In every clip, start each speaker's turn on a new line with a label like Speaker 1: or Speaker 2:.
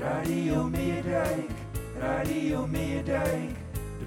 Speaker 1: Radio Meerdijk, Radio Meerdijk, de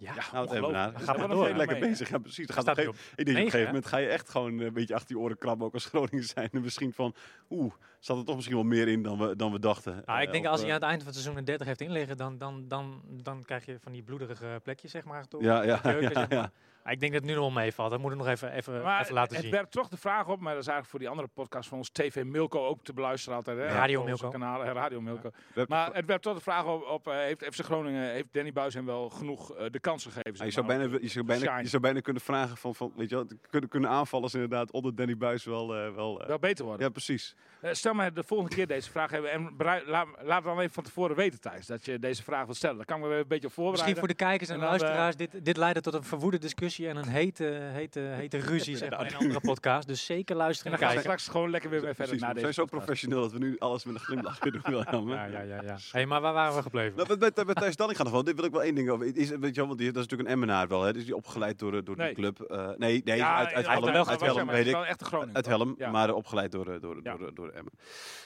Speaker 2: ja,
Speaker 3: Nou, het even
Speaker 4: ongelooflijk.
Speaker 3: naar.
Speaker 4: Daar
Speaker 2: gaat
Speaker 3: Ja,
Speaker 2: maar
Speaker 3: dat
Speaker 2: door,
Speaker 3: is
Speaker 2: hè.
Speaker 3: Lekker
Speaker 4: Mee.
Speaker 3: bezig, ja, precies. Er Gaat
Speaker 2: Staat
Speaker 3: op een
Speaker 2: hij
Speaker 3: gegeven- ik denk, op een
Speaker 2: negen,
Speaker 3: gegeven
Speaker 2: hè?
Speaker 3: moment ga je echt gewoon eh, een beetje achter die oren krabben, ook als Groningen zijn. En misschien van, oeh, zat er toch misschien wel meer in dan we, dan we dachten.
Speaker 2: Nou, ik
Speaker 3: Eh,
Speaker 2: denk
Speaker 3: of,
Speaker 2: als hij
Speaker 3: eh,
Speaker 2: aan het eind van het seizoen een 30 heeft inliggen, dan, dan, dan, dan krijg je van die bloederige plekjes, zeg maar. Toch?
Speaker 3: Ja, ja,
Speaker 2: jeuken,
Speaker 3: ja,
Speaker 2: zeg maar.
Speaker 3: ja.
Speaker 2: Ah, Ik denk dat het nu nog wel meevalt. Dat moet ik nog even, even, eh, even laten
Speaker 4: het
Speaker 2: zien.
Speaker 4: werpt toch de vraag op, maar dat is eigenlijk voor die andere podcast van ons TV Milko ook te beluisteren altijd. Hè?
Speaker 2: Radio
Speaker 4: Op onze
Speaker 2: Milko.
Speaker 4: Kanaal, eh, Radio Milko.
Speaker 3: We hebben-
Speaker 4: Maar het werpt toch de vraag op, op eh, heeft FC Groningen, heeft Danny Buis hem wel genoeg eh, de kansen gegeven?
Speaker 3: Ja,
Speaker 4: zeg
Speaker 3: je, zou
Speaker 4: maar,
Speaker 3: bijna, je, zou bijna,
Speaker 4: shine.
Speaker 3: je zou bijna kunnen vragen van, van weet je wel, kunnen, kunnen aanvallers inderdaad onder Danny Buis wel... eh, wel eh,
Speaker 4: Wel beter worden.
Speaker 3: ja, precies.
Speaker 4: Eh, stel mij de volgende keer deze vraag hebben en brui- laat, laat het dan even van tevoren weten Thijs, dat je deze vraag wilt stellen. Dan kan ik me weer een beetje op
Speaker 2: Misschien
Speaker 4: voorbereiden.
Speaker 2: voor de kijkers en,
Speaker 4: En dan, eh,
Speaker 2: luisteraars, dit, dit leidde tot een verwoede discussie en een hete, hete, hete ruzie zeg maar, in een andere podcast. Dus zeker
Speaker 4: en
Speaker 2: luisteren
Speaker 4: dan
Speaker 2: en
Speaker 4: gaan we
Speaker 2: kijken.
Speaker 4: straks gewoon lekker weer mee verder
Speaker 3: Precies,
Speaker 4: naar
Speaker 3: we
Speaker 4: deze
Speaker 3: zijn zo
Speaker 4: podcast.
Speaker 3: professioneel dat we nu alles met een glimlach kunnen doen. Wilhelm, hè?
Speaker 2: Ja, ja, ja, ja. Hey, maar waar waren we gebleven?
Speaker 3: Nou, met, met, met Thijs Dalling gaat nog wel. Dit wil ik wel één ding over. Is, weet je wel, want die, dat is natuurlijk een Emmenaar wel. Hè? Dus die opgeleid door, eh, door
Speaker 4: Nee.
Speaker 3: die club. eh, nee, nee
Speaker 4: Ja,
Speaker 3: uit, uit
Speaker 4: ja,
Speaker 3: Helm,
Speaker 4: wel
Speaker 3: uit
Speaker 4: goed,
Speaker 3: Helm,
Speaker 4: zeg maar,
Speaker 3: weet
Speaker 4: het
Speaker 3: ik.
Speaker 4: is wel echt de Groningen.
Speaker 3: Uit
Speaker 4: toch?
Speaker 3: Helm,
Speaker 4: Ja.
Speaker 3: maar eh, opgeleid door, eh, door,
Speaker 4: Ja.
Speaker 3: door, door Emmen.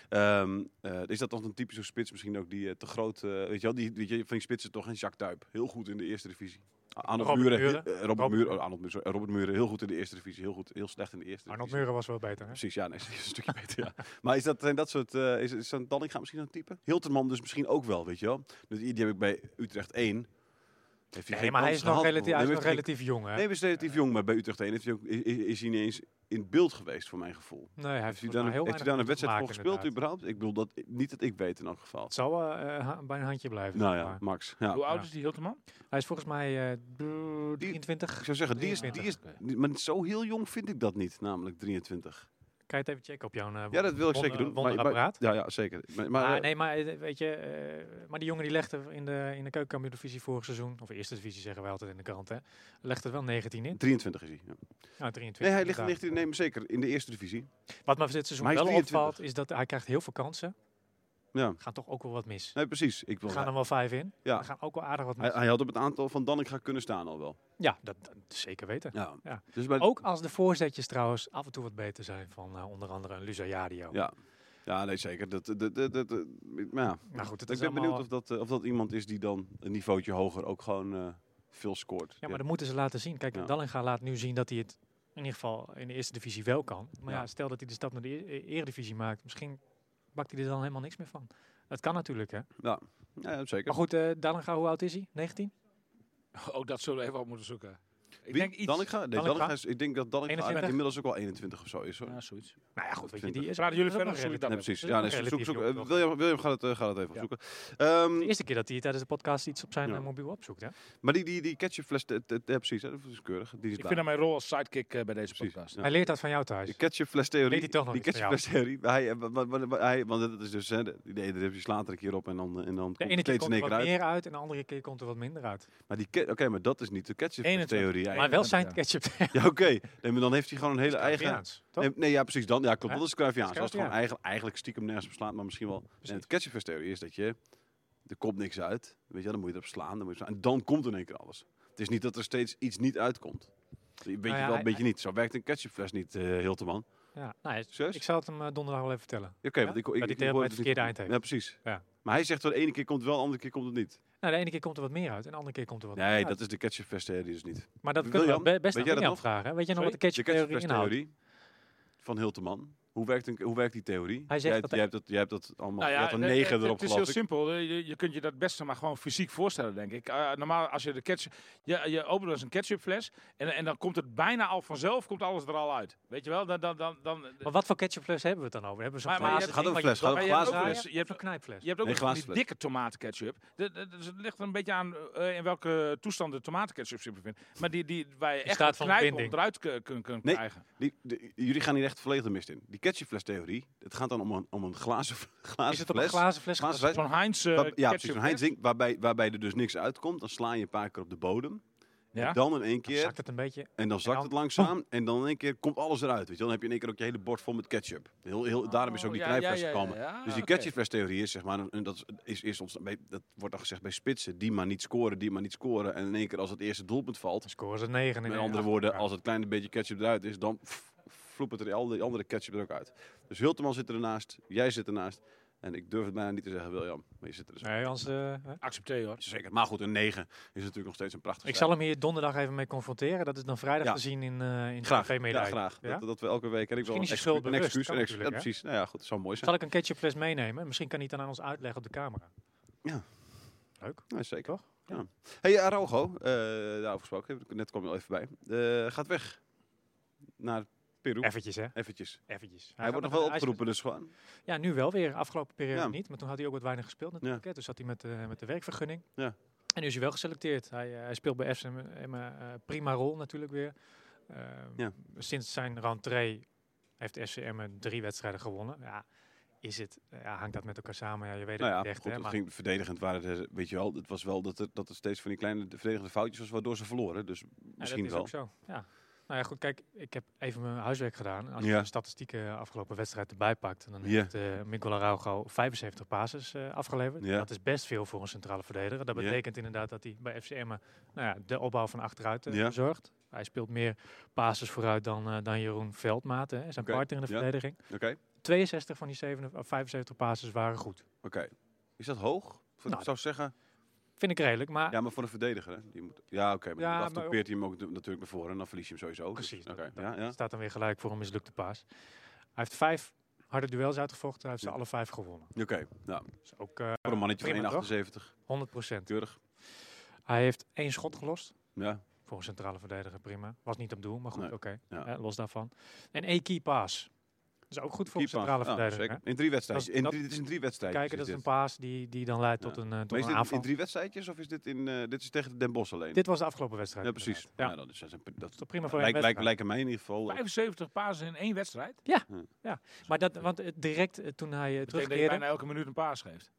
Speaker 3: Ehm, eh, is dat toch een typische spits misschien ook die eh, te groot... eh, weet je wel, die, weet je, van die spitsen toch een Jacques Duip. Heel goed in de eerste divisie. A- Arnold
Speaker 2: Robert
Speaker 3: Muren,
Speaker 2: Muren.
Speaker 3: eh, Robert
Speaker 2: Robert
Speaker 3: Muren, oh, Arnold Muren, sorry, Robert Muren, heel goed in de eerste divisie. Heel, goed, heel slecht in de eerste
Speaker 2: Arnold
Speaker 3: divisie.
Speaker 2: Muren was wel beter. Hè?
Speaker 3: Precies, ja, nee, is een stukje beter. Ja. Maar is dat, zijn dat soort. eh is, is zo'n Dallinga misschien een type? Hilterman dus misschien ook wel, weet je wel. Dus die, die heb ik bij Utrecht 1. Heeft
Speaker 2: Nee,
Speaker 3: geen
Speaker 2: maar hij
Speaker 3: kans
Speaker 2: is nog,
Speaker 3: gehad,
Speaker 2: relatief, hij is
Speaker 3: bijvoorbeeld.
Speaker 2: nog relatief jong. Hè?
Speaker 3: Nee, hij is relatief jong, maar bij Utrecht 1 heeft hij ook, is, is hij niet eens in beeld geweest, voor mijn gevoel.
Speaker 2: Nee, hij
Speaker 3: Heeft hij
Speaker 2: volgens
Speaker 3: daar
Speaker 2: mij heel
Speaker 3: een, heeft hij
Speaker 2: weinig
Speaker 3: daar een
Speaker 2: minuten
Speaker 3: wedstrijd voor
Speaker 2: gemaakt,
Speaker 3: gespeeld,
Speaker 2: inderdaad.
Speaker 3: überhaupt? Ik bedoel, dat, niet dat ik weet in elk geval.
Speaker 2: Het zal wel eh, ha- bij een handje blijven.
Speaker 3: Nou
Speaker 2: zeg
Speaker 3: ja,
Speaker 2: maar.
Speaker 3: Max. Ja.
Speaker 4: Hoe oud
Speaker 2: Ja.
Speaker 4: is die Hilteman?
Speaker 2: Hij is volgens mij eh 23.
Speaker 3: Ik zou zeggen, die is, die is,
Speaker 4: 23,
Speaker 3: maar zo heel jong vind ik dat niet, namelijk 23.
Speaker 2: Kan je het even checken op jouw eh,
Speaker 3: Ja, dat wil ik
Speaker 2: wonder-
Speaker 3: zeker doen. maar- maar-
Speaker 2: wonderapparaat?
Speaker 3: Ja, ja, zeker. Maar, maar,
Speaker 2: Maar,
Speaker 3: eh,
Speaker 2: nee, maar eh, weet je, eh, maar die jongen die legde in de, in de keukenkampioen-divisie vorig seizoen, of eerste divisie zeggen wij altijd in de krant, hè, legde er wel 19 in.
Speaker 3: 23 is hij. Ja.
Speaker 2: Nou, 23.
Speaker 3: Nee, hij ligt,
Speaker 2: inderdaad.
Speaker 3: ligt in, nee, maar zeker in de eerste divisie.
Speaker 2: Wat me voor dit seizoen
Speaker 3: Maar hij is
Speaker 2: wel
Speaker 3: 23.
Speaker 2: opvalt, is dat hij krijgt heel veel kansen.
Speaker 3: Ja.
Speaker 2: Gaat toch ook wel wat mis.
Speaker 3: Nee, precies. Ik
Speaker 2: Er
Speaker 3: wil,
Speaker 2: gaan er wel vijf in.
Speaker 3: Ja.
Speaker 2: Er gaan ook wel aardig wat
Speaker 3: hij,
Speaker 2: mis.
Speaker 3: hij had op het aantal van Dallinga kunnen staan al wel.
Speaker 2: Ja, dat, dat zeker weten.
Speaker 3: Ja.
Speaker 2: Ja.
Speaker 3: Dus bij,
Speaker 2: Ook als de voorzetjes trouwens af en toe wat beter zijn van eh, onder andere een Lusa Jadio.
Speaker 3: Ja. ja, nee, zeker. Dat, dat, dat, dat, dat- maar ja.
Speaker 2: Nou goed, het
Speaker 3: ik
Speaker 2: is
Speaker 3: ben
Speaker 2: allemaal...
Speaker 3: benieuwd of dat, eh, of dat iemand is die dan een niveautje hoger ook gewoon eh, veel scoort.
Speaker 2: Ja, maar dat moeten ze laten zien. Kijk,
Speaker 3: Ja.
Speaker 2: Dallinga laat nu zien dat hij het in ieder geval in de eerste divisie wel kan. Maar ja,
Speaker 3: Ja.
Speaker 2: stel dat hij de stap naar de e- e- eredivisie maakt, misschien bakt hij er dan helemaal niks meer van. Dat kan natuurlijk, hè?
Speaker 3: Ja. Ja, zeker.
Speaker 2: Maar goed, eh Dallinga, hoe oud is hij? 19?
Speaker 4: Ook dat zullen we even op moeten zoeken. Ik
Speaker 3: Wie?
Speaker 4: denk iets.
Speaker 3: Dallinga? Nee,
Speaker 2: Dallinga?
Speaker 3: Dallinga is- ik denk dat Dallinga
Speaker 2: 21?
Speaker 3: inmiddels ook wel 21 of zo is hoor.
Speaker 4: Ja, zoiets.
Speaker 2: Nou ja, goed, weet je,
Speaker 3: 20.
Speaker 2: die is...
Speaker 4: Praten jullie
Speaker 2: dat is
Speaker 4: verder
Speaker 2: ook
Speaker 4: of
Speaker 2: nog
Speaker 4: zoek ik dat
Speaker 3: Nee,
Speaker 4: even?
Speaker 3: precies.
Speaker 2: dat is
Speaker 3: Ja,
Speaker 2: ook
Speaker 3: nee,
Speaker 2: een
Speaker 3: zoek, zoek, zoek.
Speaker 2: relatief jong
Speaker 3: Eh,
Speaker 2: nog.
Speaker 3: William, William gaat, het, eh, gaat het even
Speaker 4: Ja.
Speaker 3: zoeken.
Speaker 2: De
Speaker 3: Ehm,
Speaker 2: eerste keer dat hij tijdens de podcast iets op zijn
Speaker 3: Ja.
Speaker 2: eh, mobiel opzoekt, hè?
Speaker 3: maar die, die, die ketchupfles, eh, eh, eh, precies, hè, dat is keurig. Die is
Speaker 4: Ik
Speaker 3: daar.
Speaker 4: vind dat mijn rol als sidekick eh, bij deze
Speaker 3: Precies,
Speaker 4: podcast.
Speaker 3: ja.
Speaker 2: Hij leert dat van jou thuis.
Speaker 3: De ketchupflestheorie.
Speaker 2: Weet hij toch nog
Speaker 3: die
Speaker 2: iets van jou?
Speaker 3: ketchupflestheorie. Hij, eh, wa- wa- wa- wa- hij, want dat is dus, hè, de- die idee, daar heb je slaat er een keer op en dan, eh, en dan
Speaker 2: De
Speaker 3: komt
Speaker 2: ene keer
Speaker 3: steeds
Speaker 2: komt
Speaker 3: in één
Speaker 2: er
Speaker 3: keer
Speaker 2: wat
Speaker 3: uit.
Speaker 2: meer uit en de andere keer komt er wat minder uit.
Speaker 3: Maar, die, ke- oké, maar dat is niet de ketchupflestheorie.
Speaker 2: Maar wel zijn
Speaker 4: ja.
Speaker 2: ketchup.
Speaker 3: Ja, oké. Nee, maar dan heeft hij gewoon een hele eigen...
Speaker 2: Italiaans, toch?
Speaker 3: Nee, nee, ja, precies. Dan, ja, klopt.
Speaker 2: Hè?
Speaker 3: Dat is Cruyffiaans.
Speaker 2: Dat is
Speaker 3: Dat is gewoon
Speaker 2: Cruyffiaans.
Speaker 3: eigenlijk, eigenlijk stiekem nergens op slaan, maar misschien wel... En het ketchupflestheorie is dat je... Er komt niks uit. Weet je, wel, dan moet je erop slaan. Dan moet je slaan. En dan komt in één keer alles. Het is niet dat er steeds iets niet uitkomt. Weet je
Speaker 2: Nou ja,
Speaker 3: wel, een
Speaker 2: hij-
Speaker 3: beetje niet. Zo werkt een ketchupfles niet, eh Hilteman.
Speaker 2: Ja, nou, hij-
Speaker 3: Serieus?
Speaker 2: ik zal het hem eh, donderdag wel even vertellen.
Speaker 3: Oké,
Speaker 2: Ja?
Speaker 3: want ik, ik,
Speaker 2: Dat die
Speaker 3: ik
Speaker 2: tegen
Speaker 3: hoor
Speaker 2: het
Speaker 3: dus
Speaker 2: verkeerde
Speaker 3: niet-
Speaker 2: eind heeft.
Speaker 3: Ja, precies.
Speaker 2: Ja.
Speaker 3: Maar hij zegt wel, de ene keer komt het wel, de andere keer komt het niet.
Speaker 2: Nou, de ene keer komt er wat meer uit en de andere keer komt er wat nou?
Speaker 3: Nee,
Speaker 2: minder
Speaker 3: dat
Speaker 2: uit.
Speaker 3: is de ketchupflestheorie dus niet.
Speaker 2: Maar dat
Speaker 3: William,
Speaker 2: kunnen we be-
Speaker 3: weet
Speaker 2: best aan
Speaker 3: jij dat
Speaker 2: William
Speaker 3: nog?
Speaker 2: vragen. hè? Weet jij nog wat de
Speaker 3: De
Speaker 2: ketchuptheorie inhoudt?
Speaker 3: ketchupflestheorie van Hilteman. Hoe werkt, een, hoe werkt die theorie?
Speaker 2: Hij zegt
Speaker 3: jij,
Speaker 2: dat
Speaker 3: jij
Speaker 2: hij-
Speaker 3: hebt dat, jij hebt dat allemaal,
Speaker 4: Nou
Speaker 3: je
Speaker 4: ja,
Speaker 3: hebt een
Speaker 4: het-
Speaker 3: negen
Speaker 4: het,
Speaker 3: erop
Speaker 4: het is heel
Speaker 3: geloof ik.
Speaker 4: simpel. Je, je kunt je dat beste maar gewoon fysiek voorstellen, denk ik. Eh, normaal als je de ketchup... Je, je opent dus een ketchupfles en, en dan komt het bijna al vanzelf, komt alles er al uit. Weet je wel? Dan, dan, dan, dan,
Speaker 2: Maar wat voor ketchupfles hebben we het dan over? Hebben we zo'n
Speaker 4: Maar- maar je
Speaker 2: glazen
Speaker 4: hebt- dus-
Speaker 3: gaat over fles,
Speaker 2: ding wat je
Speaker 3: gaat over
Speaker 2: draait,
Speaker 3: glazen
Speaker 2: draait,
Speaker 3: fles.
Speaker 2: Je hebt zo'n knijpfles.
Speaker 4: Je hebt ook
Speaker 3: Nee,
Speaker 4: nog van die
Speaker 3: glaasfles.
Speaker 4: dikke tomatenketchup. Dat- dat- Dus het ligt er een beetje aan eh, in welke toestand de tomatenketchup zich bevindt. Maar die, die waar je echt
Speaker 2: staat
Speaker 4: moet
Speaker 2: van
Speaker 4: knijpen om
Speaker 2: binding.
Speaker 4: eruit te kunnen kunnen
Speaker 3: Nee.
Speaker 4: krijgen.
Speaker 3: Die, de- jullie gaan hier echt volledig de mist in. Die ketchupflestheorie, het gaat dan om een, om een glazen, glazen
Speaker 2: Is het op een
Speaker 3: fles.
Speaker 2: glazen fles?
Speaker 3: glazen
Speaker 2: gezet?
Speaker 3: fles.
Speaker 4: Zo'n Heinz eh,
Speaker 3: Waar- ja, precies.
Speaker 4: ketchup.
Speaker 3: Een Heinz-ding waarbij, waarbij er dus niks uitkomt. Dan sla je een paar keer op de bodem.
Speaker 4: Ja.
Speaker 3: En dan in één
Speaker 2: Dan
Speaker 3: keer
Speaker 2: Zakt het een beetje?
Speaker 3: En dan zakt
Speaker 2: dan-
Speaker 3: het langzaam en dan in één keer komt alles eruit. Weet je? wel. Dan heb je in één keer ook je hele bord vol met ketchup. Heel, heel, daarom is ook die
Speaker 4: Oh, ja,
Speaker 3: knijpfles
Speaker 4: ja, ja,
Speaker 3: gekomen.
Speaker 4: ja, ja,
Speaker 3: dus die
Speaker 4: oké.
Speaker 3: ketchupflestheorie is, zeg maar, een- een- dat, is- is, is ontstaan, bij- dat wordt dan gezegd bij spitsen. Die maar niet scoren, die maar niet scoren. En in één keer als het eerste doelpunt valt.
Speaker 2: Dan scoren ze 9 in
Speaker 3: Met
Speaker 2: de
Speaker 3: andere woorden, als het kleine beetje ketchup eruit is, dan pff, vloept het er al die andere ketchup er ook uit. Dus Hulteman zit ernaast, jij zit ernaast. En ik durf het bijna niet te zeggen, William, maar je zit er dus.
Speaker 2: Nee, anders... eh, hè?
Speaker 4: Accepteer hoor.
Speaker 3: Zeker. Maar goed, een 9 is natuurlijk nog steeds een prachtig
Speaker 2: Ik zal hem hier donderdag even mee confronteren. Dat is dan vrijdag
Speaker 3: Ja.
Speaker 2: te zien in, eh in
Speaker 3: Graag,
Speaker 2: de
Speaker 3: ja,
Speaker 2: tv-media.
Speaker 3: graag.
Speaker 2: Ja?
Speaker 3: Dat, dat we elke week. En ik wil
Speaker 2: Misschien
Speaker 3: een
Speaker 2: is je
Speaker 3: excuus,
Speaker 2: schuld
Speaker 3: een
Speaker 2: bewust,
Speaker 3: excuus,
Speaker 2: kan
Speaker 3: een excuus. Ja,
Speaker 2: natuurlijk, hè?
Speaker 3: precies. Nou ja, goed, dat zou mooi zijn.
Speaker 2: Zal ik een ketchupfles meenemen? Misschien kan hij het dan aan ons uitleggen op de camera.
Speaker 3: Nou, zeker.
Speaker 2: Toch?
Speaker 3: Ja. Hey, Araujo, eh daarover gesproken. Net kwam je al even bij. Eh, gaat weg naar Peru.
Speaker 2: Eventjes, hè?
Speaker 3: Eventjes.
Speaker 2: Eventjes.
Speaker 3: Hij, wordt
Speaker 2: gaat
Speaker 3: nog
Speaker 2: met
Speaker 3: wel
Speaker 2: een ijs-
Speaker 3: opgeroepen, dus gewoon.
Speaker 2: Ja, nu wel weer. Afgelopen periode
Speaker 3: Ja.
Speaker 2: niet. Maar toen had hij ook wat weinig gespeeld natuurlijk. Hè? Toen zat hij met, eh, met de werkvergunning.
Speaker 3: Ja.
Speaker 2: En nu is hij wel geselecteerd. Hij, eh, hij speelt bij FC een eh, prima rol natuurlijk weer. Ehm,
Speaker 3: Ja.
Speaker 2: Sinds zijn rentree heeft SCM drie wedstrijden gewonnen. Ja, is het, ja, hangt dat met elkaar samen? Ja, je weet het
Speaker 3: Nou ja,
Speaker 2: niet echt.
Speaker 3: goed,
Speaker 2: hè,
Speaker 3: het
Speaker 2: maar-
Speaker 3: ging verdedigend. Waren het, eh, weet je wel, het was wel dat er, dat er steeds van die kleine verdedigende foutjes was, waardoor ze verloren. Dus misschien
Speaker 2: ja, dat
Speaker 3: wel.
Speaker 2: is ook zo. Ja. Nou ja, goed, kijk, ik heb even mijn huiswerk gedaan. Als je
Speaker 3: Ja.
Speaker 2: de statistieken afgelopen wedstrijd erbij pakt, dan
Speaker 3: Ja.
Speaker 2: heeft eh Miguel Araujo 75 passes eh, afgeleverd.
Speaker 3: Ja.
Speaker 2: Dat is best veel voor een centrale verdediger. Dat
Speaker 3: Ja.
Speaker 2: betekent inderdaad dat hij bij FCM nou ja, de opbouw van achteruit eh,
Speaker 3: Ja.
Speaker 2: zorgt. Hij speelt meer passes vooruit dan, eh, dan Jeroen Veldmaat, hè, zijn
Speaker 3: Oké,
Speaker 2: partner in de
Speaker 3: ja.
Speaker 2: verdediging.
Speaker 3: Oké, oké.
Speaker 2: 62 van die 7, of 75 passes waren goed.
Speaker 3: Is dat hoog? Voor-
Speaker 2: Nou,
Speaker 3: ik zou zeggen,
Speaker 2: Vind ik redelijk, maar
Speaker 3: ja, maar voor een verdediger. Hè? Die moet, ja, oké, maar
Speaker 2: Ja,
Speaker 3: dan
Speaker 2: maar-
Speaker 3: peert hij hem ook du- natuurlijk naar voren en dan verlies je hem sowieso. Dus,
Speaker 2: Precies, dat-
Speaker 3: oké,
Speaker 2: dat-
Speaker 3: ja, ja.
Speaker 2: staat dan weer gelijk voor een mislukte paas. Hij heeft vijf harde duels uitgevochten, hij heeft ze
Speaker 3: Ja.
Speaker 2: alle vijf gewonnen.
Speaker 3: Oké, nou,
Speaker 2: Dus ook eh
Speaker 3: voor een mannetje
Speaker 2: prima, toch?
Speaker 3: van 1,78.
Speaker 2: 100 procent.
Speaker 3: Keurig.
Speaker 2: Hij heeft één schot gelost.
Speaker 3: Ja,
Speaker 2: Voor een centrale verdediger prima. Was niet op doel, maar goed,
Speaker 3: Nee,
Speaker 2: oké.
Speaker 3: ja.
Speaker 2: Hè, los daarvan. En één key pass. Dat is ook goed voor een
Speaker 3: Keeper.
Speaker 2: centrale
Speaker 3: Ja,
Speaker 2: verdediger.
Speaker 3: zeker. In drie wedstrijden.
Speaker 2: Dat is-
Speaker 3: in
Speaker 2: dat-
Speaker 3: drie, dit is in drie wedstrijden.
Speaker 2: Kijken, dat is een paas die, die dan leidt tot
Speaker 3: Ja.
Speaker 2: een, eh, tot
Speaker 3: Maar is
Speaker 2: een
Speaker 3: dit
Speaker 2: aanval.
Speaker 3: in drie wedstrijdjes of is dit in eh, dit is tegen Den Bosch alleen?
Speaker 2: Dit was de afgelopen wedstrijd.
Speaker 3: ja, precies.
Speaker 2: inderdaad.
Speaker 3: Ja,
Speaker 2: Ja.
Speaker 3: dan is dat, een- dat
Speaker 2: is toch prima voor één
Speaker 3: lijkt, lijkt,
Speaker 2: wedstrijd.
Speaker 3: lijken mij in ieder geval. eh,
Speaker 4: 75 pasen in één wedstrijd. Dat
Speaker 2: Maar dat, want eh, direct eh, toen hij eh,
Speaker 4: betekent dat je
Speaker 2: terugkeerde...
Speaker 4: bijna elke minuut een paas geeft.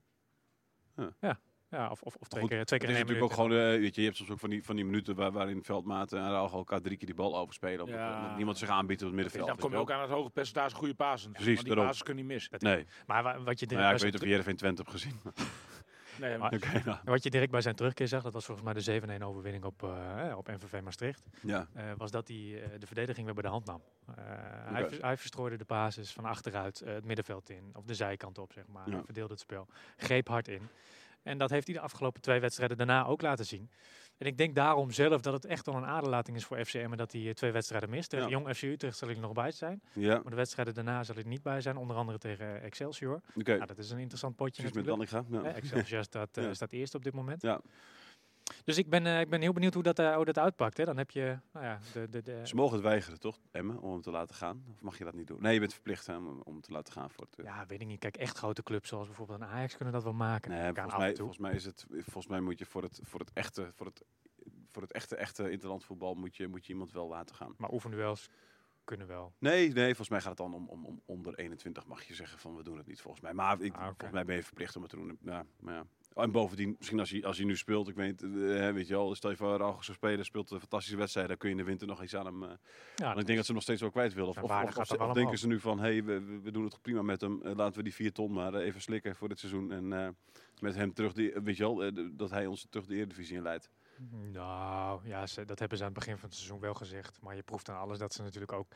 Speaker 2: Ja, of, of, of twee
Speaker 3: goed,
Speaker 2: keer, twee
Speaker 3: Het
Speaker 2: keer
Speaker 3: is
Speaker 2: in één
Speaker 3: natuurlijk ook
Speaker 2: minuut.
Speaker 3: gewoon, eh, weet je, je hebt soms ook van die, van die minuten waar, waarin Veldmaten en Rauw elkaar drie keer die bal overspelen. Omdat,
Speaker 4: Ja.
Speaker 3: omdat niemand zich aanbiedt op het middenveld.
Speaker 4: dan kom je
Speaker 3: weet
Speaker 4: ook
Speaker 3: je
Speaker 4: aan het hoge percentage goede pasen.
Speaker 3: Precies,
Speaker 4: want die
Speaker 3: daarom.
Speaker 4: pasen kun je niet mis.
Speaker 3: wel. Nee,
Speaker 2: Maar wa- wat je
Speaker 3: nou
Speaker 2: direct
Speaker 3: ja,
Speaker 2: bij
Speaker 3: ik
Speaker 2: zijn
Speaker 3: weet of je RV Twente hebt gezien.
Speaker 4: Nee,
Speaker 2: Maar-
Speaker 4: maar,
Speaker 3: Oké, nou,
Speaker 2: En Wat je direct bij zijn terugkeer zag, dat was volgens mij de 7-1 overwinning op, eh, eh, op MVV Maastricht,
Speaker 3: ja.
Speaker 2: eh, was dat hij eh, de verdediging weer bij de hand nam. Eh, hij,
Speaker 3: Oké.
Speaker 2: vers- hij verstrooide de basis van achteruit eh, het middenveld in, of de zijkant op, zeg maar.
Speaker 3: Ja.
Speaker 2: Hij verdeelde het spel, greep hard in. En dat heeft hij de afgelopen twee wedstrijden daarna ook laten zien. Het En ik denk daarom zelf dat het echt al een aderlating is voor FCM en dat hij eh, twee wedstrijden mist. Tegen
Speaker 3: Ja.
Speaker 2: Jong FC Utrecht zal ik er nog bij zijn,
Speaker 3: Ja,
Speaker 2: maar
Speaker 3: oké.
Speaker 2: de wedstrijden daarna zal ik niet bij zijn. Onder andere tegen eh, Excelsior. Nou, dat is een interessant potje
Speaker 3: Precies met
Speaker 2: natuurlijk.
Speaker 3: Lanninga. Ja.
Speaker 2: Hè, Excelsior staat, eh,
Speaker 3: Ja.
Speaker 2: staat eerst op dit moment.
Speaker 3: Ja.
Speaker 2: Dus ik ben, eh, ik ben heel benieuwd hoe dat, eh, hoe dat uitpakt. Hè. Dan heb je nou ja, de, de, de,
Speaker 3: Ze mogen het weigeren, toch, Emmen, om hem te laten gaan? Of mag je dat niet doen? Nee, je bent verplicht hè, om hem- om hem te laten gaan voor het... eh,
Speaker 2: Ja, weet ik niet. Kijk, echt grote clubs zoals bijvoorbeeld een Ajax kunnen dat wel maken.
Speaker 3: Nee,
Speaker 2: Kan
Speaker 3: volgens
Speaker 2: af
Speaker 3: mij,
Speaker 2: en toe.
Speaker 3: volgens mij is het. Volgens mij moet je voor het, voor het echte, voor het, voor het echte, echte interlandvoetbal moet je, moet je iemand wel laten gaan.
Speaker 2: Maar oefenduels kunnen wel.
Speaker 3: Nee, nee, volgens mij gaat het dan om, om, om onder 21 mag je zeggen van we doen het niet volgens mij. Maar ik,
Speaker 2: Ah, oké.
Speaker 3: volgens mij ben je verplicht om het te doen. Ja, maar ja. Oh, En bovendien, misschien als je, als je nu speelt, ik weet, eh, weet je al, stel je voor Rauw zou spelen, speelt een fantastische wedstrijd, dan kun je in de winter nog iets aan hem. eh,
Speaker 2: Ja,
Speaker 3: want ik denk dat ze hem nog steeds wel kwijt willen. Of,
Speaker 2: Zijn
Speaker 3: of,
Speaker 2: waarde
Speaker 3: of-
Speaker 2: gaat
Speaker 3: of-
Speaker 2: er wel
Speaker 3: of denken
Speaker 2: omhoog.
Speaker 3: ze nu van, hé, hey, we- we, we doen het prima met hem, eh, laten we die 4 ton maar eh, even slikken voor dit seizoen. En eh, met hem terug, die, weet je wel, eh, de- dat hij ons terug de Eredivisie inleidt.
Speaker 2: Nou, ja, ze, dat hebben ze aan het begin van het seizoen wel gezegd. Maar je proeft aan alles dat ze natuurlijk ook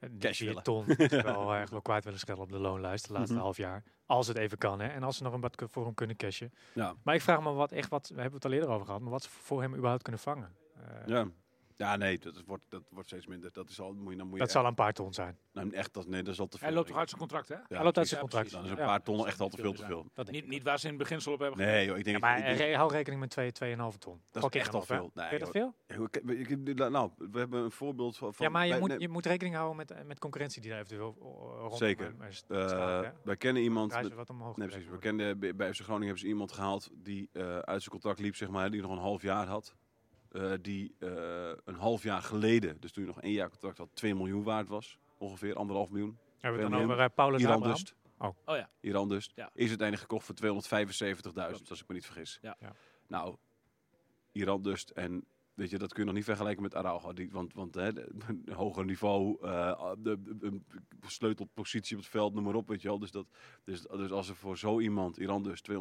Speaker 2: eh, die
Speaker 3: Cash
Speaker 2: vier
Speaker 3: willen. Mhm.
Speaker 2: ton wel eh, echt wel kwijt willen schelden op de loonlijst de laatste half jaar. Als het even kan, hè. En als ze nog een wat voor hem kunnen cashen.
Speaker 3: Ja.
Speaker 2: Maar ik vraag me wat echt wat, we hebben het al eerder over gehad, maar wat ze voor hem überhaupt kunnen vangen. Eh,
Speaker 3: Ja. Ja, nee, dat wordt, dat wordt steeds minder. Dat is al, moet je, dan moet je
Speaker 2: Dat zal een paar ton zijn.
Speaker 3: echt, nou, echt, dat, nee, dat is al te veel.
Speaker 4: Hij loopt toch uit zijn contract, hè?
Speaker 3: Ja,
Speaker 2: Hij loopt uit
Speaker 3: precies.
Speaker 2: zijn
Speaker 4: Ja,
Speaker 2: contract.
Speaker 4: precies.
Speaker 3: Dan is een
Speaker 2: Ja.
Speaker 3: paar tonnen echt al te veel te veel.
Speaker 2: Dat denk ik.
Speaker 4: Niet, niet waar ze in het beginsel op hebben
Speaker 3: Nee, joh, ik denk...
Speaker 2: Ja, maar
Speaker 3: ik denk-
Speaker 2: eh, hou rekening met 2, 2,5 ton.
Speaker 3: is
Speaker 2: Fucking
Speaker 3: echt al
Speaker 2: half, hè.
Speaker 3: veel. Nee,
Speaker 2: Vind je dat
Speaker 3: joh.
Speaker 2: veel?
Speaker 3: Hey, hoe- kijk, ik- ik- Nou, we hebben een voorbeeld van... van-
Speaker 2: ja, maar je,
Speaker 3: bij-
Speaker 2: moet,
Speaker 3: nee,
Speaker 2: je moet rekening houden met, eh, met concurrentie die daar eventueel eh, rondom
Speaker 3: Zeker.
Speaker 2: hem, eh,
Speaker 3: eh,
Speaker 2: staat. hè.
Speaker 3: wij kennen iemand...
Speaker 2: Prijzen
Speaker 3: met-
Speaker 2: wat omhoog.
Speaker 3: Nee,
Speaker 2: gebracht
Speaker 3: precies. We
Speaker 2: worden.
Speaker 3: kenden, bij- bij FC Groningen hebben ze iemand gehaald die eh, uit zijn contract liep, zeg maar, die nog een half jaar had. Eh, die eh, een half jaar geleden, dus toen hij nog één jaar contract had, 2 miljoen waard was. Ongeveer anderhalf miljoen.
Speaker 2: Hebben we het dan
Speaker 3: William,
Speaker 2: over eh, Paulus
Speaker 3: Iran
Speaker 2: Abraham?
Speaker 3: dus.
Speaker 4: Oh ja.
Speaker 3: Iran dus.
Speaker 4: Ja.
Speaker 3: Is uiteindelijk gekocht voor 275.000,
Speaker 4: Klopt.
Speaker 3: als ik me niet vergis.
Speaker 4: Ja.
Speaker 2: Ja.
Speaker 3: Nou, Iran dus en... Weet je, dat kun je nog niet vergelijken met Araujo. Die, want want hè, de- een hoger niveau, eh, de, de- een sleutelpositie op het veld, noem maar op. Weet je wel. Dus, dat, dus, dus als er voor zo iemand, Iran dus, 275.000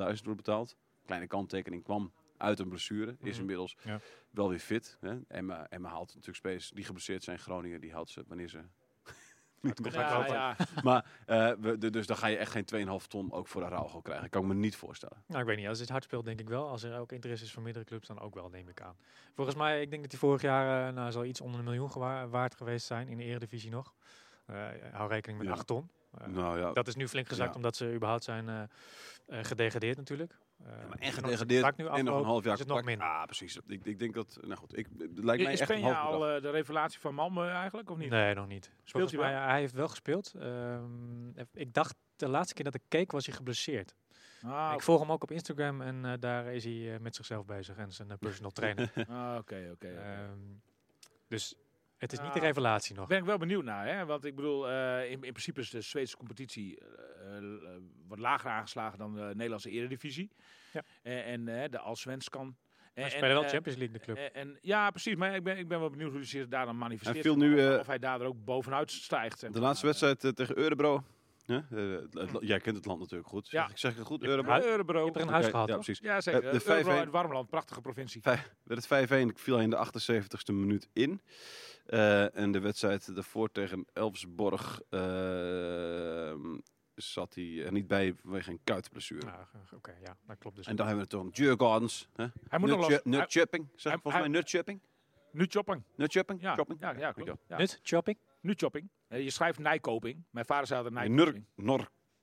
Speaker 3: wordt betaald. Kleine kanttekening kwam uit een blessure. Is
Speaker 2: Mhm.
Speaker 3: inmiddels
Speaker 2: Ja.
Speaker 3: wel weer fit. Hè. Emma, Emma haalt natuurlijk spelers die geblesseerd zijn. Groningen, die houdt ze wanneer ze... niet
Speaker 2: komt
Speaker 3: meer
Speaker 4: Ja,
Speaker 2: contract
Speaker 4: ja,
Speaker 2: loopt
Speaker 4: ja.
Speaker 3: maar eh, we- de- dus dan ga je echt geen 2,5 ton ook voor Araujo krijgen. Kan ik me niet voorstellen.
Speaker 2: Nou, ik weet niet. Als dit hard speelt, denk ik wel. Als er ook interesse is van meerdere clubs, dan ook wel, neem ik aan. Volgens mij, ik denk dat hij vorig jaar eh, nou, zal iets onder een miljoen gewa- waard geweest zijn in de eredivisie nog. Eh, hou rekening met
Speaker 3: Ja.
Speaker 2: 8 ton. Eh,
Speaker 3: nou ja,
Speaker 2: Dat is nu flink gezakt,
Speaker 3: Ja.
Speaker 2: omdat ze überhaupt zijn eh, eh, gedegradeerd natuurlijk. Eh,
Speaker 3: Ja, maar
Speaker 2: en
Speaker 3: en
Speaker 2: nog-
Speaker 3: gedegradeerd
Speaker 2: vaak nu
Speaker 3: en nog een
Speaker 2: afgelopen,
Speaker 3: half jaar
Speaker 2: is het nog
Speaker 3: contract.
Speaker 2: minder.
Speaker 3: Ah, precies. Ik, ik denk dat... Nou goed, ik, het lijkt mij
Speaker 4: Is
Speaker 3: echt een
Speaker 4: Peña
Speaker 3: half
Speaker 4: al
Speaker 3: bedrag.
Speaker 4: eh, de revelatie van Malmö eigenlijk, of niet?
Speaker 2: Nee, nog niet. Volgens
Speaker 4: hij wel?
Speaker 2: mij, hij heeft wel gespeeld. Ehm, ik dacht de laatste keer dat ik keek was hij geblesseerd.
Speaker 4: Ah,
Speaker 2: ik volg hem ook op Instagram en eh, daar is hij eh, met zichzelf bezig en zijn eh, personal trainer.
Speaker 4: ah, oké, oké. oké.
Speaker 2: Ehm, dus het is niet de
Speaker 4: Ah.
Speaker 2: revelatie nog.
Speaker 4: Daar ben ik wel benieuwd naar, hè? Want ik bedoel, eh, in, in principe is de Zweedse competitie eh, eh, wat lager aangeslagen dan de Nederlandse Eredivisie.
Speaker 2: Ja.
Speaker 4: En, en eh, de Allsvenskan.
Speaker 2: Hij
Speaker 4: En-
Speaker 2: speelt wel
Speaker 4: en, eh,
Speaker 2: Champions League de club.
Speaker 4: en, en- ja, precies. Maar ik ben, ik ben wel benieuwd hoe hij zich daar dan manifesteert.
Speaker 3: viel nu,
Speaker 4: Of-
Speaker 3: eh,
Speaker 4: of hij daar ook bovenuit stijgt. zeg
Speaker 3: De
Speaker 4: maar.
Speaker 3: laatste
Speaker 4: Eh,
Speaker 3: wedstrijd eh, tegen Eurebro. Hè? Eh, het- het- jij kent het land natuurlijk goed. Zeg,
Speaker 4: Ja.
Speaker 3: ik, zeg ik het goed?
Speaker 2: Je hebt
Speaker 3: Eurebro.
Speaker 2: een
Speaker 4: eh, Eurebro.
Speaker 2: Je hebt er een
Speaker 3: Oké,
Speaker 2: huis gehad,
Speaker 3: Ja,
Speaker 2: toch?
Speaker 3: preeurebro
Speaker 4: Ja, zeker.
Speaker 3: Eh, de
Speaker 4: Eurebro
Speaker 3: 5-1.
Speaker 4: uit Warmland, prachtige provincie.
Speaker 3: werd het 5-1. Ik viel in de 78ste minuut in. Eh, en de wedstrijd daarvoor tegen Elfsborg eh, zat hij er niet bij vanwege een kuitblessure.
Speaker 2: Nou, eh, Oké, ja, dat klopt dus.
Speaker 3: En dan hebben we het toch Jurgens.
Speaker 4: Hij moet nog los. Hij-
Speaker 3: Nutchupping. Zeg
Speaker 4: hij-
Speaker 3: ik volgens mij
Speaker 4: hij-
Speaker 3: nutchupping.
Speaker 4: Nu chopping.
Speaker 3: Nutchupping?
Speaker 4: Ja,
Speaker 3: Chopping?
Speaker 4: ja, ja,
Speaker 3: weet je
Speaker 4: klopt. Ja.
Speaker 2: Nut, shopping.
Speaker 4: Nu chopping. Eh, je schrijft Nijkoping. Mijn vader zei altijd
Speaker 3: wel.
Speaker 4: Nijkoping.
Speaker 3: Nur-